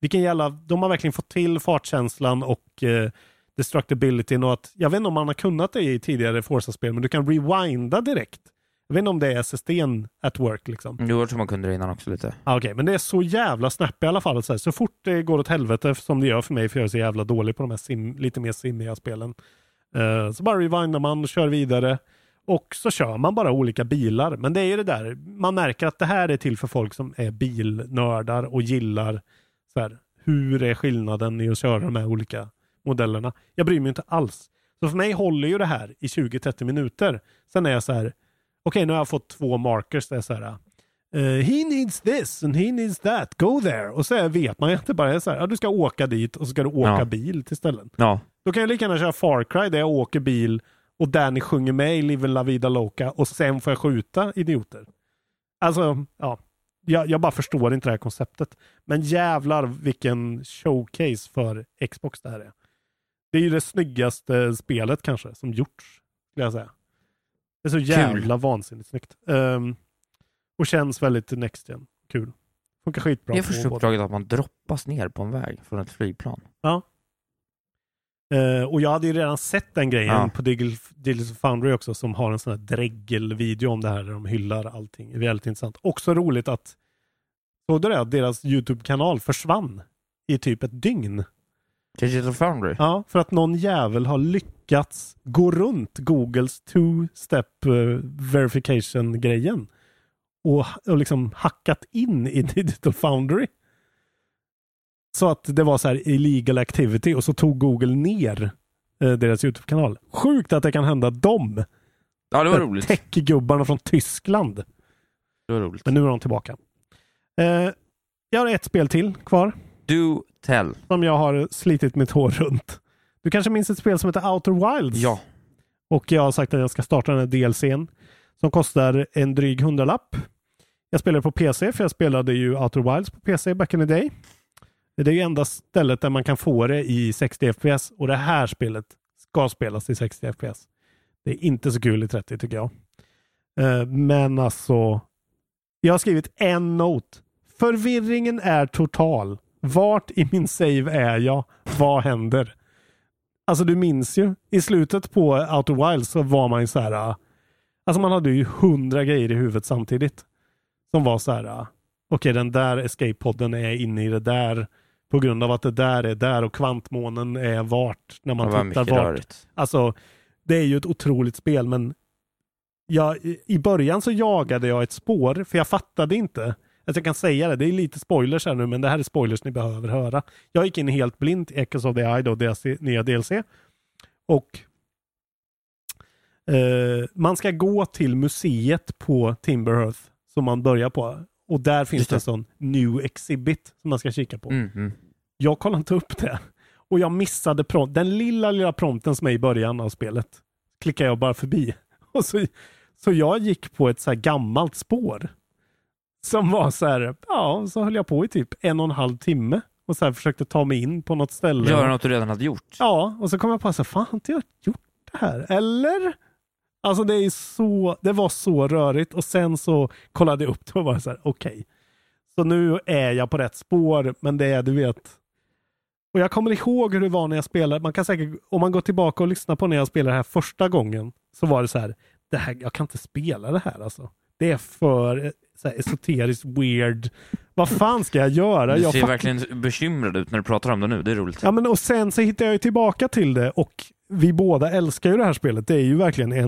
Vilken jävla, de har verkligen fått till fartkänslan och eh, destructibilityn och att, jag vet inte om man har kunnat det i tidigare Forza-spel, men du kan rewinda direkt. Jag vet inte om det är SSDn at work liksom.
Du var som man kunde det innan också lite.
Ja, Ah, Okej, men det är så jävla snabbt i alla fall. Så, här, så fort det går åt helvete, som det gör för mig, för jag är så jävla dålig på de här sim, lite mer simmiga spelen, eh, så bara rewindar man och kör vidare. Och så kör man bara olika bilar. Men det är ju det där, man märker att det här är till för folk som är bilnördar och gillar så här, hur är skillnaden i att köra de här olika modellerna. Jag bryr mig inte alls. Så för mig håller ju det här i 20-30 minuter. Sen är jag så här, okej nu har jag fått två markers. Det är så här, Eh, he needs this and he needs that, go there. Och så vet man ju att det bara är så här, ja, du ska åka dit och så ska du åka
Ja.
bil till ställen.
Ja.
Då kan jag lika gärna köra Far Cry där jag åker bil och Danny sjunger med i Live La Vida Loca och sen får jag skjuta idioter. Alltså, ja. Jag, jag bara förstår inte det här konceptet. Men jävlar vilken showcase för Xbox det här är. Det är ju det snyggaste spelet kanske som gjorts, skulle jag säga. Det är så jävla vansinnigt snyggt. Ehm, och känns väldigt next gen. Kul. Funkar skitbra.
jag
på
förstår
båda.
uppdraget att man droppas ner på en väg från ett flygplan.
Eh, och jag hade ju redan sett den grejen
Ja.
på Digital Digital Foundry också som har en sån här dreggelvideo om det här där de hyllar allting. Det är väldigt intressant. Också roligt att, såg du det? Att deras YouTube-kanal försvann i typ ett dygn.
Digital Foundry.
Ja, för att någon jävel har lyckats gå runt Googles two-step eh, verification-grejen och, och liksom hackat in i Digital Foundry. Så att det var så här illegal activity och så tog Google ner eh, deras YouTube-kanal. Sjukt att det kan hända dem.
Ja, det var roligt.
Techgubbarna från Tyskland.
Det var roligt.
Men nu är de tillbaka. Eh, jag har ett spel till kvar
Do tell.
som jag har slitit mitt hår runt. Du kanske minns ett spel som heter Outer Wilds?
Ja.
Och jag har sagt att jag ska starta den här DLCn som kostar en dryg hundralapp. Jag spelar på PC för jag spelade ju Outer Wilds på PC back in the day. Det är ju enda stället där man kan få det i 60 FPS och det här spelet ska spelas i 60 FPS. Det är inte så kul i 30 tycker jag. Eh, Men alltså, jag har skrivit en not. Förvirringen är total. Vart i min save är jag? Vad händer? Alltså du minns ju. I slutet på Outer Wilds så var man ju så här. ah, Alltså man hade ju hundra grejer i huvudet samtidigt. Som var så här. ah, Okej, den där escape-podden är inne i det där. På grund av att det där är där och kvantmånen är vart. När
det var
man tittar
mycket
vart.
rörigt.
Alltså, det är ju ett otroligt spel, men jag, i- i början så jagade jag ett spår, för jag fattade inte. Alltså jag kan säga det, det är lite spoilers här nu, men det här är spoilers ni behöver höra. Jag gick in helt blint i Echoes of the Eye, då, deras nya DLC. Och eh, man ska gå till museet på Timberhearth som man börjar på. Och där finns
Just
det en
det.
sån new exhibit som man ska kika på.
Mm, mm.
Jag kollade inte upp det. Och jag missade prompt. den lilla, lilla prompten som är i början av spelet. Klickade jag bara förbi. Och så, så jag gick på ett så här gammalt spår. Som var så här, ja, så höll jag på i typ en och en halv timme. Och så här försökte ta mig in på något ställe.
Göra något du redan hade gjort.
Ja, och så kom jag på att fan har inte jag gjort det här? Eller? Alltså det är så, det var så rörigt och sen så kollade jag upp det och var så här, okej. Så nu är jag på rätt spår, men det är du vet. Och jag kommer ihåg hur det var när jag spelade. Man kan säkert, om man går tillbaka och lyssnar på när jag spelade det här första gången så var det så här, det här jag kan inte spela det här alltså. Det är för eh, så här, esoteriskt weird. Vad fan ska jag göra?
Du
jag
ser
fattar-
verkligen bekymrad ut när du pratar om det nu. Det är roligt.
Ja, men och sen så hittade jag ju tillbaka till det och vi båda älskar ju det här spelet. Det är ju verkligen en,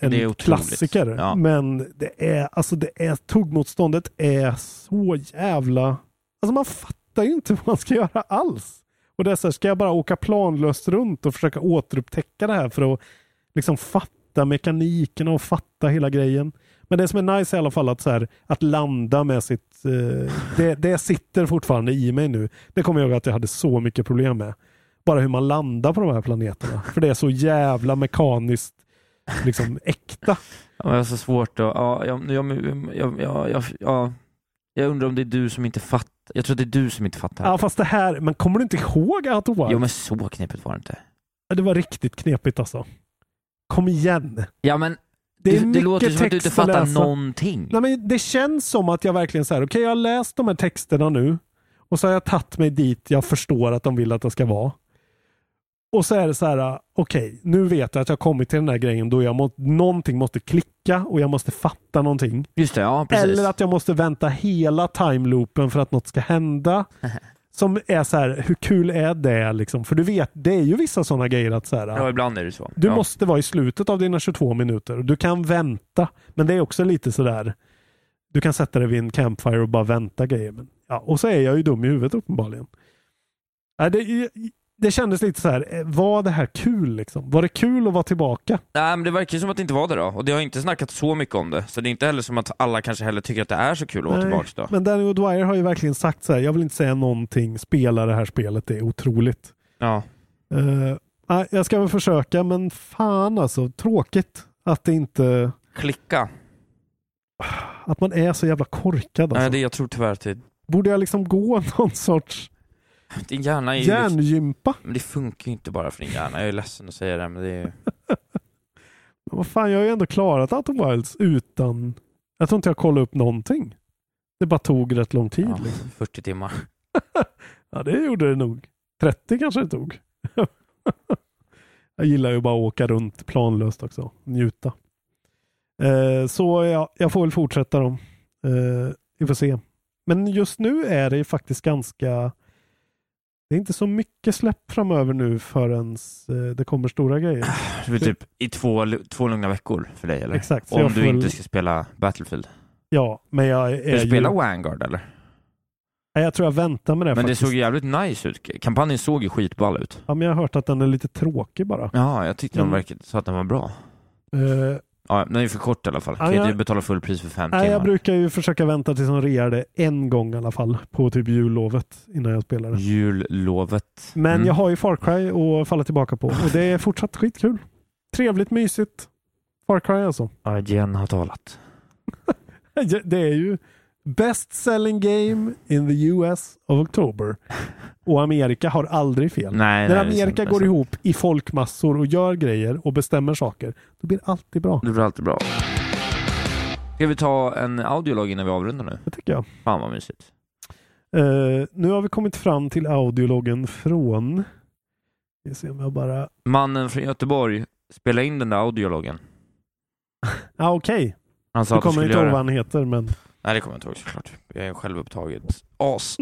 en
Det är otroligt.
klassiker.
Ja.
Men det är, alltså det är, tuggmotståndet är så jävla... Alltså man fattar ju inte vad man ska göra alls. Och det är så här, ska jag bara åka planlöst runt och försöka återupptäcka det här för att liksom fatta mekaniken och fatta hela grejen. Men det som är nice är i alla fall att, så här, att landa med sitt... Eh, det, det sitter fortfarande i mig nu. Det kommer jag ihåg att jag hade så mycket problem med bara hur man landar på de här planeterna. För det är så jävla mekaniskt liksom äkta.
Ja, men det är så svårt att... Ja, jag, jag, jag, jag, jag, jag, jag undrar om det är du som inte fattar. Jag tror att det är du som inte fattar.
Ja, fast det här, men kommer du inte ihåg att
Jo men så knepigt var det inte.
Det var riktigt knepigt alltså. Kom igen.
Ja men
Det,
det,
är
det,
mycket
låter ju som att du inte
text att
fattar
läsa.
någonting.
Nej, men det känns som att jag verkligen så här, okej jag har läst de här texterna nu och så har jag tagit mig dit jag förstår att de vill att jag ska vara. Och så är det så här, okej, nu vet jag att jag har kommit till den här grejen då jag må, någonting måste klicka och jag måste fatta någonting.
Just det, ja precis.
Eller att jag måste vänta hela timeloopen för att något ska hända. Som är så här, hur kul är det liksom? För du vet, det är ju vissa sådana grejer att så
Ja,
här,
ibland är det så.
du
ja.
måste vara i slutet av dina 22 minuter. Du kan vänta, men det är också lite sådär, du kan sätta dig vid en campfire och bara vänta grejer. Men, ja, och så är jag ju dum i huvudet uppenbarligen. Nej, det, det kändes lite så här, eh, var det här kul liksom? Var det kul att vara tillbaka?
Nej men det verkar ju som att det inte var det då. Och det har inte snackats så mycket om det. Så det är inte heller som att alla kanske heller tycker att det är så kul att vara
Nej,
tillbaka då.
Men Danny O'Dwyer har ju verkligen sagt så här, jag vill inte säga någonting, spela det här spelet, det är otroligt.
Ja.
Eh, nej, jag ska väl försöka, men fan alltså, tråkigt att det inte,
Klicka.
att man är så jävla korkad alltså.
Nej, det, jag tror tyvärr att det,
Borde jag liksom gå någon sorts
din hjärna är ju... liksom-
hjärngympa?
Men det funkar ju inte bara för din hjärna. Jag är ledsen att säga det men det är ju...
Vad fan, jag har ju ändå klarat Out of Wilds utan, jag tror inte jag kollade upp någonting. Det bara tog rätt lång tid.
Ja,
Ja,
40 timmar.
ja det gjorde det nog. 30 kanske det tog. jag gillar ju bara att åka runt planlöst också, njuta. Eh, så ja, jag får väl fortsätta då. Eh, vi får se. Men just nu är det ju faktiskt ganska... Det är inte så mycket släpp framöver nu förrän eh, det kommer stora grejer.
Det blir typ i två, två lugna veckor för dig eller?
Exakt, så
Om
jag
du
får väl-
inte ska spela Battlefield.
Ja, men jag är
Ska du spela
ju...
Vanguard eller?
Nej, Jag tror jag väntar med det
Men det
faktiskt.
såg ju jävligt nice ut. Kampanjen såg ju skitball ut.
Ja, men jag har hört att den är lite tråkig bara.
Ja, jag tyckte de
Mm.
verkade, sa att den var bra.
Eh,
Ja, den är ju för kort i alla fall.
Ja,
Kan ju
jag-
inte betala full pris för fem
nej,
timmar.
jag brukar ju försöka vänta tills de rear det en gång i alla fall. På typ jullovet innan jag spelar det.
Jullovet.
Men
Mm.
jag har ju Far Cry att falla tillbaka på och det är fortsatt skitkul. Trevligt, mysigt. Far Cry alltså.
Ja, Jen har talat.
Det är ju best selling game in the US of October. Och Amerika har aldrig fel. När
Nej, nej, det är sant, det
Amerika
är
går
sant.
ihop i folkmassor och gör grejer och bestämmer saker, då blir det alltid bra.
Det blir alltid bra. Ska vi ta en audiolog innan vi avrundar nu?
Det tycker jag.
Fan vad mysigt.
Eh, nu har vi kommit fram till audiologen från... Vi ser om jag bara...
Mannen från Göteborg spelade in den där audiologen.
Ah, Okej,
Han sa
du
att
kommer
han skulle
inte ihåg
göra
vad
det.
han heter men
Nej, det kommer jag inte ihåg såklart. Jag är självupptaget as.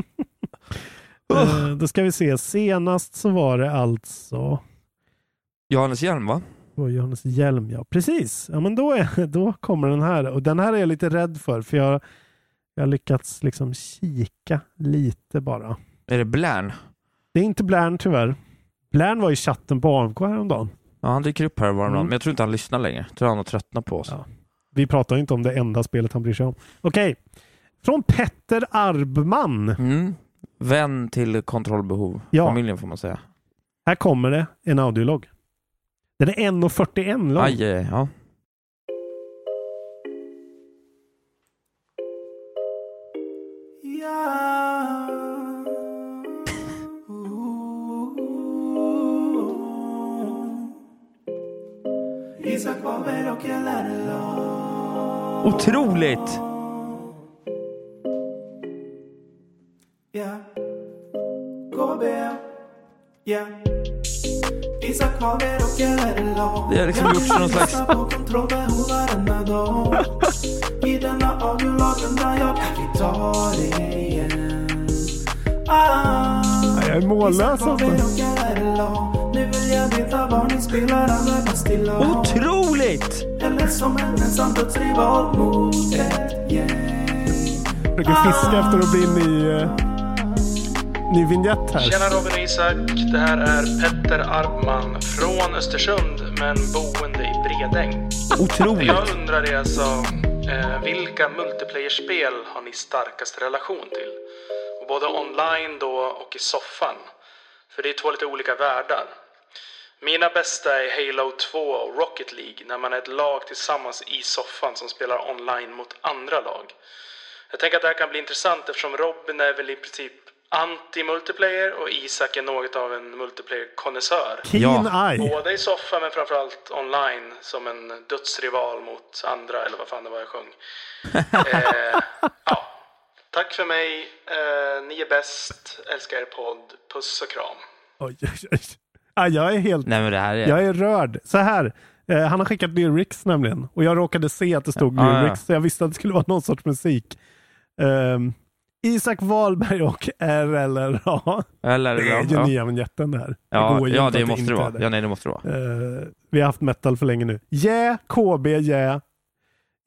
Uh!
eh, då ska vi se. Senast så var det alltså...
Johannes Hjelm va?
Det var Johannes Hjelm ja. Precis, ja, men då, är, då kommer den här. Och den här är jag lite rädd för för jag, jag har lyckats liksom kika lite bara.
Är det Blärn?
Det är inte Blärn tyvärr. Blärn var i chatten på AMK häromdagen.
Ja, han dyker upp här varje
Mm.
mm. men jag tror inte han lyssnar längre. Jag tror han har tröttnat på oss.
Ja. Vi pratar ju inte om det enda spelet han bryr sig om. Okej. Från Petter Arbman.
Mm. Vän till kontrollbehov.
Ja.
Familjen får man säga.
Här kommer det en audiolog. Den är 1.41 lång.
Aj, eh, ja. Otroligt! Det har liksom gjorts någon slags...
jag är mållös alltså.
Nu vill jag veta var ni spelar alla på Stilla hav.
Otroligt!
Eller som en ensam dödsrival mot ett gäng.
Försöker fiska efter att bli en ny, eh, ny vignett här.
Tjena Robin och Isak. Det här är Petter Arpman från Östersund men boende i Bredäng. Jag
Otroligt!
undrar det alltså, eh, vilka multiplayer-spel har ni starkast relation till? Och både online då och i soffan. För det är två lite olika världar. Mina bästa är Halo 2 och Rocket League när man är ett lag tillsammans i soffan som spelar online mot andra lag. Jag tänker att det här kan bli intressant eftersom Robin är väl i princip anti-multiplayer och Isak är något av en multiplayer-konnässör.
Keen
Ja.
eye.
Både i soffa men framförallt online som en dödsrival mot andra eller vad fan det var jag sjöng. eh, ja. Tack för mig. Eh, ni är bäst. Älskar er podd. Puss och kram.
Oj, oj, oj. Ah, jag är helt
Nej men det här är...
Jag är rörd. Så här. Eh, han har skickat lyrics nämligen. Och jag råkade se att det stod
Ah, Ja, ja, ja.
lyrics. Så jag visste att det skulle vara någon sorts musik. Ehm, Isak Wahlberg och RLR. Ja,
Eller,
det är ju
ja.
nya vignetten det här.
Ja,
går ju
ja,
inte
det
att
måste det
inte
vara.
är det.
Ja, nej, det måste det vara.
Eh, vi har haft metal för länge nu. Yeah, KB, yeah.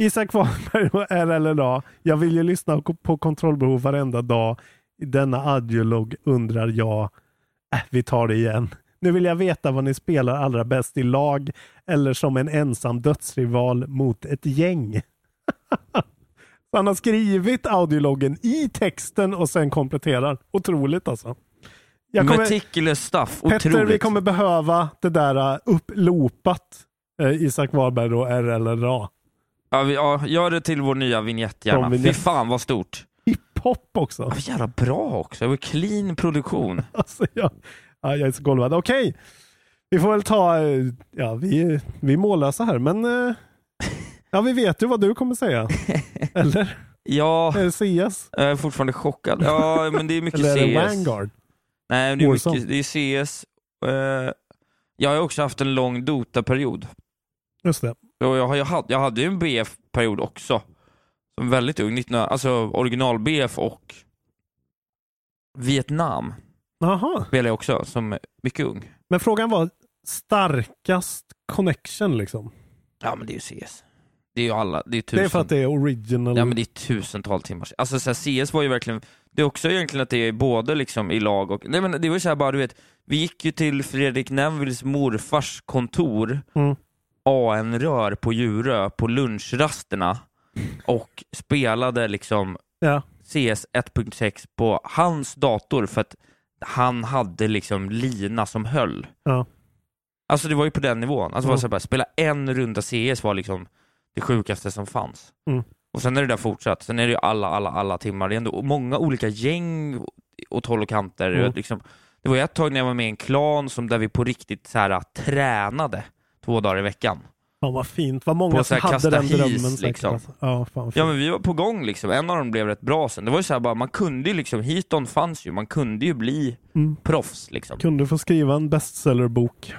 Isak Wahlberg och RLLA. Jag vill ju lyssna ko- på kontrollbehov varenda dag. I denna audiolog undrar jag. Äh, vi tar det igen. Nu vill jag veta vad ni spelar allra bäst i lag eller som en ensam dödsrival mot ett gäng. Så han har skrivit audiologgen i texten och sen kompletterar. Otroligt alltså. Jag kommer-
Meticulous stuff.
Petter, vi
Otroligt.
kommer behöva det där uh, upplopat eh, Isak Wahlberg och RLRA.
Ja, vi, ja, gör det till vår nya vignett gärna.
Som vignett.
Fy fan vad stort.
Hiphop också.
Ja, jävla bra också. Det var clean produktion.
Alltså, jag, ja, jag är så golvad. Okej, vi får väl ta... eh, Ja, vi, vi målar så här, men... eh, Ja, vi vet ju vad du kommer säga. Eller?
Ja,
Är det CS?
jag är fortfarande chockad. Ja, men det är mycket
Eller är det
CS.
Vanguard?
Nej, men det är,
Warzone?
mycket, det är CS. Eh, jag har ju också haft en lång Dota-period.
Just det.
Och jag, har- jag, hade, jag hade ju en BF-period också. Som väldigt ung. 19, alltså original-BF och Vietnam
Jaha.
spelade jag också som mycket ung.
Men frågan var starkast connection liksom.
Ja, men det är ju CS. Det är ju alla. Det är tusen.
Det är för att det är original.
Ja men det är tusentals timmars, alltså så här, CS var ju verkligen, det är också egentligen att det är både liksom i lag och, nej men det var ju så här bara du vet, vi gick ju till Fredrik Nevils morfars kontor,
Mm.
AN-rör på Djurö på lunchrasterna och spelade liksom
Ja.
CS 1.6 på hans dator för att han hade liksom lina som höll.
Ja.
Alltså det var ju på den nivån. Alltså det var
Mm.
så här bara, spela en runda CS var liksom det sjukaste som fanns.
Mm.
Och sen är det där fortsatt. Sen är det ju alla, alla, alla timmar. Det är ändå många olika gäng åt håll och kanter.
Mm.
Liksom, det var ju ett tag när jag var med i en klan som där vi på riktigt så här, tränade två dagar i veckan.
Fan vad fint. Vad många
På så
som
här
hade
kasta
den
his,
drömmen. säkert,
liksom.
alltså. Ja, fan vad
Ja
fint.
men vi var på gång liksom, en av dem blev rätt bra sen. Det var ju så här bara, man kunde ju liksom, hiton fanns ju, man kunde ju bli
Mm.
proffs liksom.
Kunde få skriva en bestsellerbok.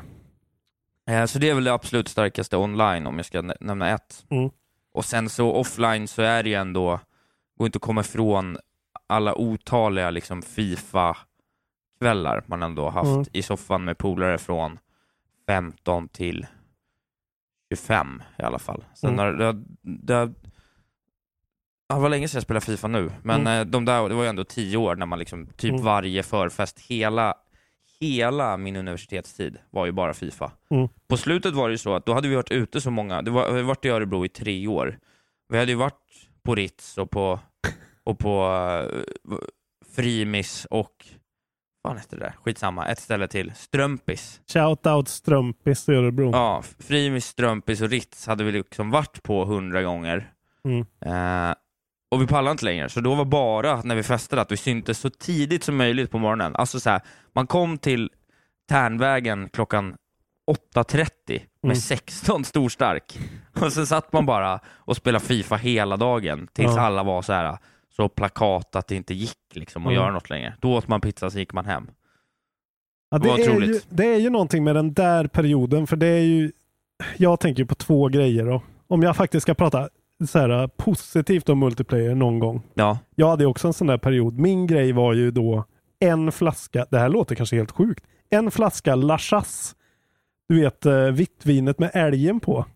Eh, Så det är väl det absolut starkaste online om jag ska nä- nämna ett.
Mm.
Och sen så offline så är det ju ändå, går inte att komma ifrån alla otaliga liksom Fifa-kvällar man ändå har haft
Mm.
i soffan med polare från 15 till 25 i alla fall. Sen
Mm.
har det, det, det var länge sedan jag spelade Fifa nu, men eh, de där, det var ju ändå 10 år när man liksom, typ
Mm.
varje förfest, hela, hela min universitetstid var ju bara Fifa.
Mm.
På slutet var det ju så att då hade vi varit ute så många, det var, vi har varit i Örebro i tre år. Vi hade ju varit på Ritz och på, och på eh, Frimis och, vad fan hette det där? Skitsamma, ett ställe till. Strömpis.
Shoutout Strömpis i Örebro.
Ja, Frimis, Strömpis och Ritz hade vi liksom varit på hundra gånger.
Mm.
Eh, och vi pallade inte längre, så då var bara när vi festade att vi syntes så tidigt som möjligt på morgonen. Alltså så här, man kom till Tärnvägen klockan 8.30 med
Mm.
16 storstark. Och sen satt man bara och spelade Fifa hela dagen tills
Ja.
alla var så här så plakat att det inte gick liksom att
Mm.
göra något längre. Då åt man pizza, så gick man hem.
Ja, det,
vad
är ju,
otroligt.
det är ju någonting med den där perioden, för det är ju... Jag tänker på två grejer. Då. Om jag faktiskt ska prata så här, positivt om multiplayer någon gång.
Ja,
Jag hade ju också en sån där period. Min grej var ju då en flaska, det här låter kanske helt sjukt, en flaska Lachas. Du vet eh, vitt vinet med älgen på.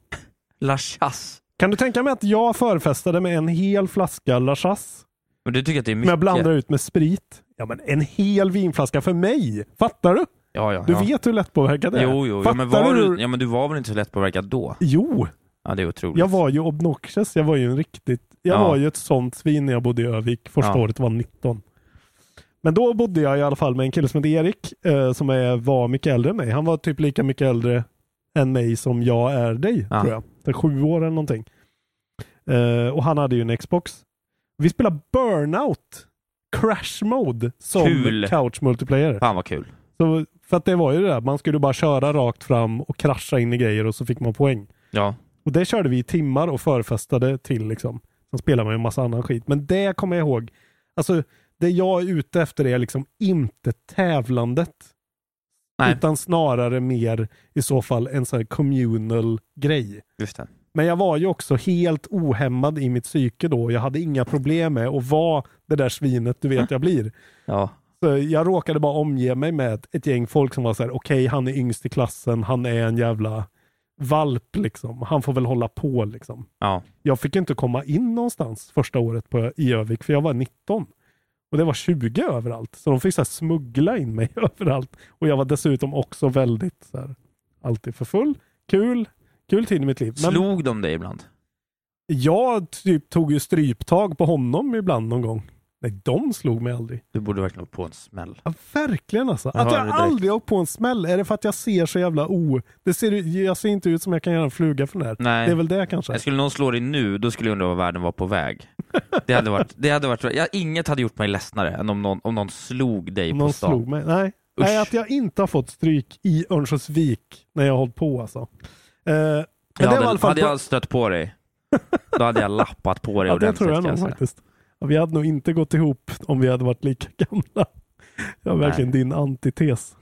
Lachas.
Kan du tänka mig att jag förfestade med en hel flaska Lachas?
Men du tycker att det är mycket?
Men jag blandar ut med sprit. Ja men en hel vinflaska för mig. Fattar du?
Ja, ja,
Du
ja.
vet hur lättpåverkad det är.
Jo, jo. Ja,
Fattar
men var
hur-
du, ja, men du var väl inte så lättpåverkad då?
Jo,
Ja, det är otroligt.
jag var ju obnoxious. Jag var ju en riktigt... Jag
Ja.
var ju ett sånt svin när jag bodde i Övik. Första
Ja.
året var 19. Men då bodde jag i alla fall med en kille som heter Erik eh, som är, var mycket äldre än mig. Han var typ lika mycket äldre än mig som jag är dig,
Ja.
tror jag. Det är sju år eller någonting. Eh, och han hade ju en Xbox. Vi spelade Burnout Crash Mode som
Kul.
couch multiplayer.
Fan vad kul.
Så, för att det var ju det där, man skulle bara köra rakt fram och krascha in i grejer och så fick man poäng.
Ja.
Och det körde vi i timmar och förfestade till liksom. Sen spelade man ju en massa annan skit. Men det kommer jag ihåg. Alltså, det jag är ute efter är liksom inte tävlandet.
Nej.
Utan snarare mer i så fall en sån här communal grej.
Just det.
Men jag var ju också helt ohämmad i mitt psyke då. Jag hade inga problem med att vara det där svinet du vet jag blir.
Ja.
Så jag råkade bara omge mig med ett gäng folk som var så här: okej han är yngst i klassen, han är en jävla valp liksom. Han får väl hålla på liksom.
Ja.
Jag fick inte komma in någonstans första året på, i Övik för jag var 19. Och det var 20 överallt. Så de fick så här smuggla in mig överallt. Och jag var dessutom också väldigt så här, alltid för full. Kul. Kul tid i mitt liv. Men
Slog de dig ibland?
jag typ tog ju stryptag på honom ibland någon gång. Nej, de slog mig aldrig.
Du borde verkligen ha på en smäll.
Ja, verkligen alltså.
Jag
att
hör
jag
det direkt.
aldrig har åkt på en smäll. Är det för att jag ser så jävla o... Det ser, ju- jag ser inte ut som jag kan göra en fluga från det här.
Nej.
Det är väl det kanske.
Jag skulle någon slå dig nu, då skulle jag undra vad världen var på väg. Det hade varit, det hade varit ja, inget hade gjort mig ledsnare än om någon, om någon slog dig
Om
på
någon
stan.
slog mig. Nej. Nej, att jag inte har fått stryk i Örnsköldsvik när jag har hållit på alltså. Eh, men
Jag
det var i alla
hade,
fall...
hade jag stött på dig, då hade jag lappat på
ja,
dig
det
ordentligt.
tror jag
kan
nog
säga.
faktiskt. Ja, vi hade nog inte gått ihop om vi hade varit lika gamla. Jag är verkligen din antites.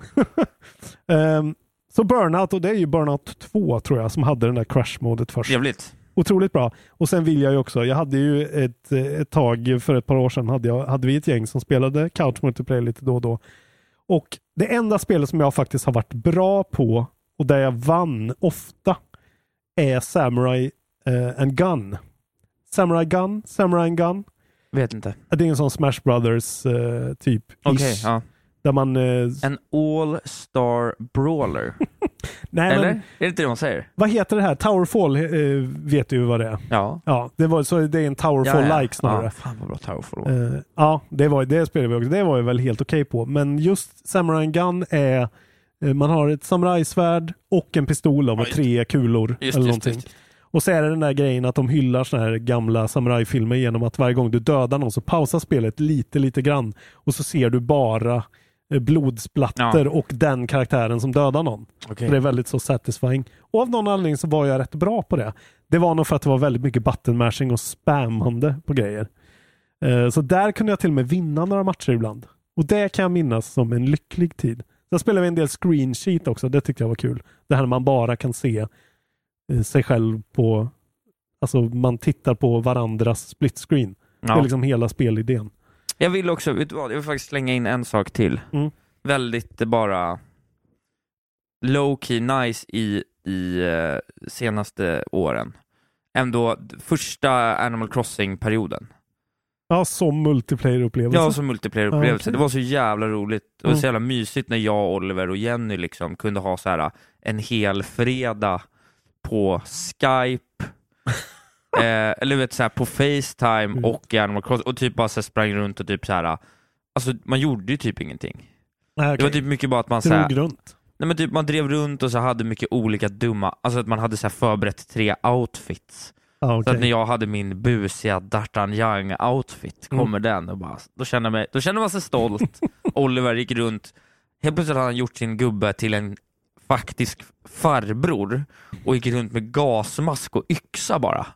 Ehm, så Burnout, och det är ju Burnout 2 tror jag, som hade den där crash-modet först.
Trevligt.
Otroligt bra. Och sen vill jag ju också, jag hade ju ett, ett tag för ett par år sedan hade, jag, hade vi ett gäng som spelade couch multiplayer lite då och då. Och det enda spelet som jag faktiskt har varit bra på och där jag vann ofta är Samurai eh, and Gun. Samurai Gun, Samurai and Gun.
Vet inte.
Det är en sån Smash Brothers eh, typ.
Okej,
ish.
ja.
Där man... Eh,
En all-star brawler.
nej,
Eller?
men,
Är det inte det man säger?
vad heter det här? Towerfall eh, vet du ju vad det är.
Ja.
Ja, det, var, så det är en Towerfall-like snarare.
Ja, fan vad bra Towerfall var.
Eh, ja, det, var, det spelade vi också. Det var jag väl helt okej på. Men just Samurai Gun är eh, man har ett samurajsvärd och en pistol då med
Ja,
tre kulor.
Just,
eller
just,
någonting.
just.
Och så är det den där grejen att de hyllar såna här gamla samurajfilmer genom att varje gång du dödar någon så pausar spelet lite, lite grann och så ser du bara eh, blodsplatter
Ja.
och den karaktären som dödar någon.
Okej.
Så Det är väldigt så satisfying. Och av någon anledning så var jag rätt bra på det. Det var nog för att det var väldigt mycket button mashing och spammande på grejer. Eh, Så där kunde jag till och med vinna några matcher ibland. Och det kan jag minnas som en lycklig tid. Sen spelade vi en del screen sheet också. Det tyckte jag var kul. Det här när man bara kan se eh, sig själv på... Alltså man tittar på varandras split screen. Det
Ja.
är liksom hela spelidén.
Jag vill också, vet du vad? Jag vill faktiskt slänga in en sak till.
Mm.
Väldigt eh, bara low key nice i, i eh, senaste åren. Ändå d- första Animal Crossing-perioden.
Ja, som multiplayer-upplevelse.
Ja, som multiplayer-upplevelse.
Ja, okej.
Det var så jävla roligt och
Mm.
så jävla mysigt när jag, Oliver och Jenny liksom kunde ha så här en hel fredag på Skype, eh, eller vet så här på Facetime
Mm.
och i Animal Crossing och typ bara så här sprang runt och typ så här. Alltså man gjorde ju typ ingenting.
Nej,
Det
okej.
var typ mycket bara att man så här,
Drog runt.
nej men typ man drev runt och så hade mycket olika dumma, alltså att man hade så här förberett tre outfits.
Ja,
Så
okej.
att när jag hade min busiga D'Artagnan outfit,
Mm.
kommer den och bara, då kände, jag mig, då kände man sig stolt. Oliver gick runt, helt plötsligt hade han gjort sin gubbe till en faktisk farbror och gick runt med gasmask och yxa bara.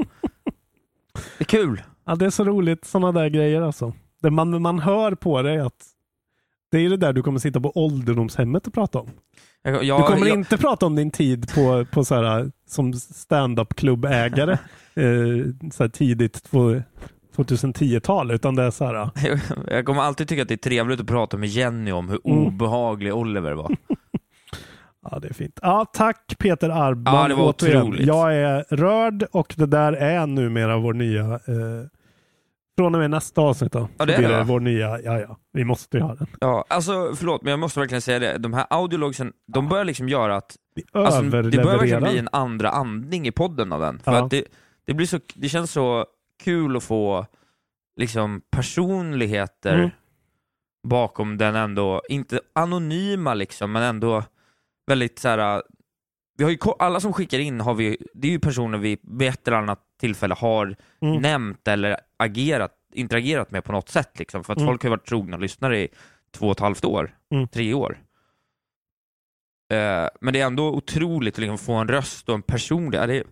Det är kul.
Ja, det är så roligt sådana där grejer alltså. Det man, man hör på dig att det är det där du kommer sitta på ålderdomshemmet och prata om.
Jag, jag,
Du kommer
jag,
inte prata om din tid på, på så här, som stand-up klubbägare eh, så här tidigt två- 2010-tal, utan det är så här.
Jag kommer alltid tycka att det är trevligt att prata med Jenny om hur
Mm.
obehaglig Oliver var.
Ja, det är fint. Ja, tack Peter Arban.
Ja, det var otroligt.
Jag är rörd och det där är numera vår nya... Eh, från och med nästa avsnitt då.
Ja, det
så
är
blir
det,
det
va?
vår nya... Ja, ja. Vi måste ju ha den.
Ja, alltså förlåt, men jag måste verkligen säga det. De här audiologsen, de börjar liksom göra att alltså, det börjar verkligen
överlevererar.
bli en andra andning i podden av den. För
Ja.
att det, det, blir så, det känns så kul att få liksom personligheter
Mm.
bakom den ändå, inte anonyma liksom, men ändå väldigt så här. äh, Vi har ju, ko- alla som skickar in har vi, det är ju personer vi vid ett eller annat tillfälle har
Mm.
nämnt eller agerat, interagerat med på något sätt. Liksom, för att
Mm.
folk har ju varit trogna lyssnare i två och ett halvt år,
Mm.
tre år. Eh, men det är ändå otroligt att liksom få en röst och en personlig... ja, Det är,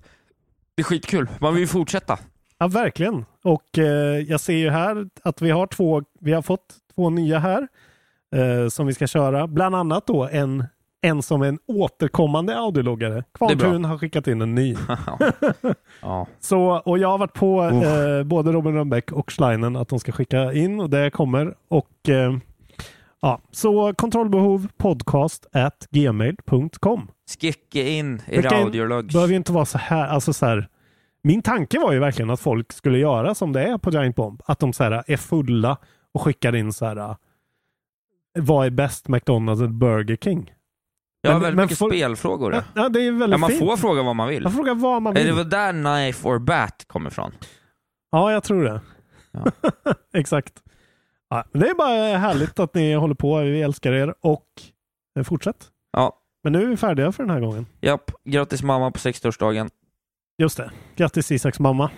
det är skitkul. Man vill ju fortsätta.
Ja, verkligen. Och eh, jag ser ju här att vi har två, vi har fått två nya här eh, som vi ska köra. Bland annat då en, en som är en återkommande audiologgare. Kvarntun har skickat in en ny.
Ja.
Så, och jag har varit på
Uff.
eh, både Robin Rönnbäck och Schleinen att de ska skicka in och det kommer. Och, eh, ja. Så kontrollbehov podcast at gmail.com.
Skicka in i
Skicka in.
radiologs.
behöver ju inte vara så här. Alltså så här. Min tanke var ju verkligen att folk skulle göra som det är på Giant Bomb. Att de så här är fulla och skickar in så här. Vad är bäst McDonalds eller Burger King?
Jag har
Men-
väldigt
men
mycket
får-
spelfrågor.
Ja, ja, det är väldigt
Ja, man
fint.
får fråga vad man vill.
Man får fråga vad man
Är det
vill.
väl där knife or bat kommer ifrån?
Ja, jag tror det.
Ja.
Exakt. Ja, men det är bara härligt att ni håller på. Vi älskar er och eh, fortsätt.
Ja.
Men nu är vi färdiga för den här gången.
Japp. Grattis mamma på 60-årsdagen.
Just det. Grattis Isaks mamma.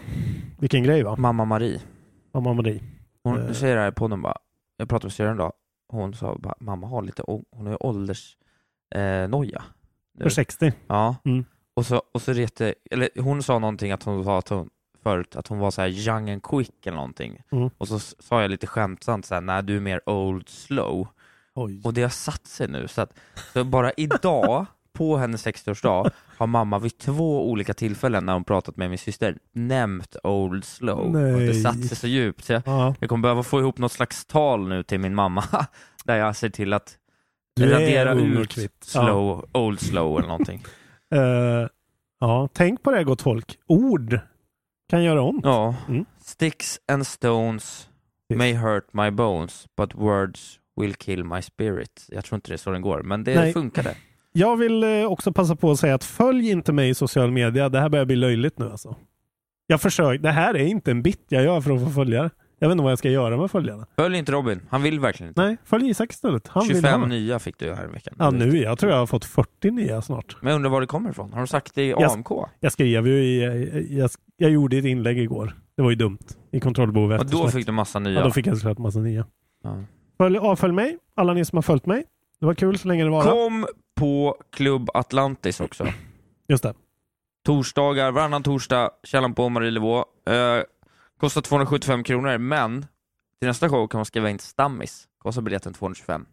Vilken grej va?
Mamma Marie.
Mamma Marie.
Hon
Eh.
säger det här i podden bara. Jag pratade med syrran idag. Hon sa bara, mamma har lite, å- hon har ju åldersnoja. Eh, noja.
För 60.
Ja.
Mm.
Och så, och så rete, eller hon sa någonting att hon var att hon, förut, att hon var så här young and quick eller någonting.
Mm.
Och så s- sa jag lite skämtsamt så här, nej du är mer old slow.
Oj.
Och det har satt sig nu. Så, att, så bara idag, på hennes 60-årsdag, har mamma vid två olika tillfällen när hon pratat med min syster nämnt old slow. Och det
Nej.
satt sig så djupt. Så jag,
Ja.
jag kommer behöva få ihop något slags tal nu till min mamma, där jag ser till att
Du är
radera
ung och
ut
kvitt. Ja.
slow, old slow eller någonting.
Eh, ja, tänk på det gott folk. Ord kan göra ont.
Ja.
Mm.
Sticks and stones
Precis.
may hurt my bones, but words will kill my spirit. Jag tror inte det är så den går, men det
Nej.
funkade.
Jag vill eh, också passa på att säga att följ inte mig i social media. Det här börjar bli löjligt nu alltså. Jag försöker. Det här är inte en bit jag gör för att få följare. Jag vet inte vad jag ska göra med följarna.
Följ inte Robin, han vill verkligen inte.
Nej, följ Isak istället. Han vill
25
ha.
nya fick du här i veckan.
Ja, nu. Jag tror jag har fått 40 nya snart.
Men jag undrar var det kommer ifrån? Har de sagt det i
Jag-
AMK?
Jag skrev ju i... Jag, jag gjorde ett inlägg igår. Det var ju dumt. I kontrollbehovet.
Och då fick du massa nya.
Ja, då fick jag såklart massa nya.
Ja.
Följ, avfölj mig, alla ni som har följt mig. Det var kul så länge det var.
Kom på Club Atlantis också.
Just det.
Torsdagar, varannan torsdag, Källan på Marielevå. Eh, kostar 275 kronor, men till nästa show kan man skriva in stammis. Kostar biljetten 225.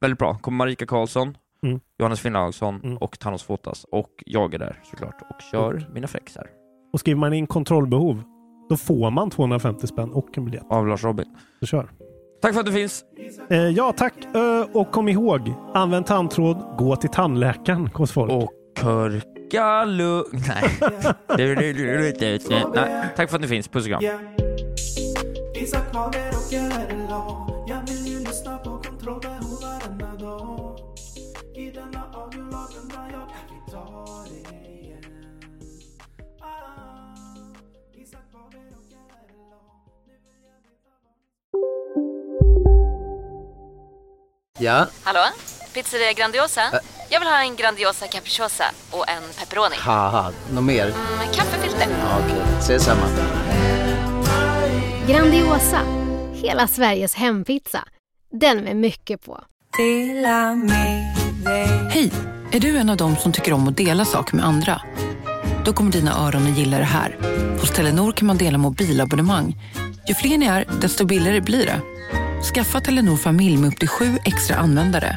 Väldigt bra. Kommer Marika Karlsson,
Mm.
Johannes Finnlaugsson
Mm.
och Thanos Fotas. Och jag är där såklart och kör mina fräxar
Och skriver man in kontrollbehov, då får man 250 spänn och en biljett.
av Lars Robin.
Så kör.
Tack för att du finns.
Eh, ja, tack. Ö, och kom ihåg, använd tandtråd, gå till tandläkaren, gott folk.
Och körka lugnt. Nej. Det- det- det- det- det- det- Nej. Tack för att du finns. Puss och kram.
Isak Wahlberg och Gerhard Law. Jag vill ju lyssna på kontrollbehov varenda dag. I denna audiolog undrar jag, kan vi ta det igen? Ah, Isak Wahlberg och Gerhard Law. Nu vill jag veta vad-
Ja,
Hallå? Pizzeria Grandiosa? Jag vill ha en Grandiosa capriciosa och en pepperoni.
haha, något mer?
Med kaffefilter.
Ja, Okej, ses samma.
Grandiosa, hela Sveriges hempizza. Den med mycket på.
Hej! Är du en av dem som tycker om att dela saker med andra? Då kommer dina öron att gilla det här. Hos Telenor kan man dela mobilabonnemang. Ju fler ni är, desto billigare blir det. Skaffa Telenor familj med upp till sju extra användare.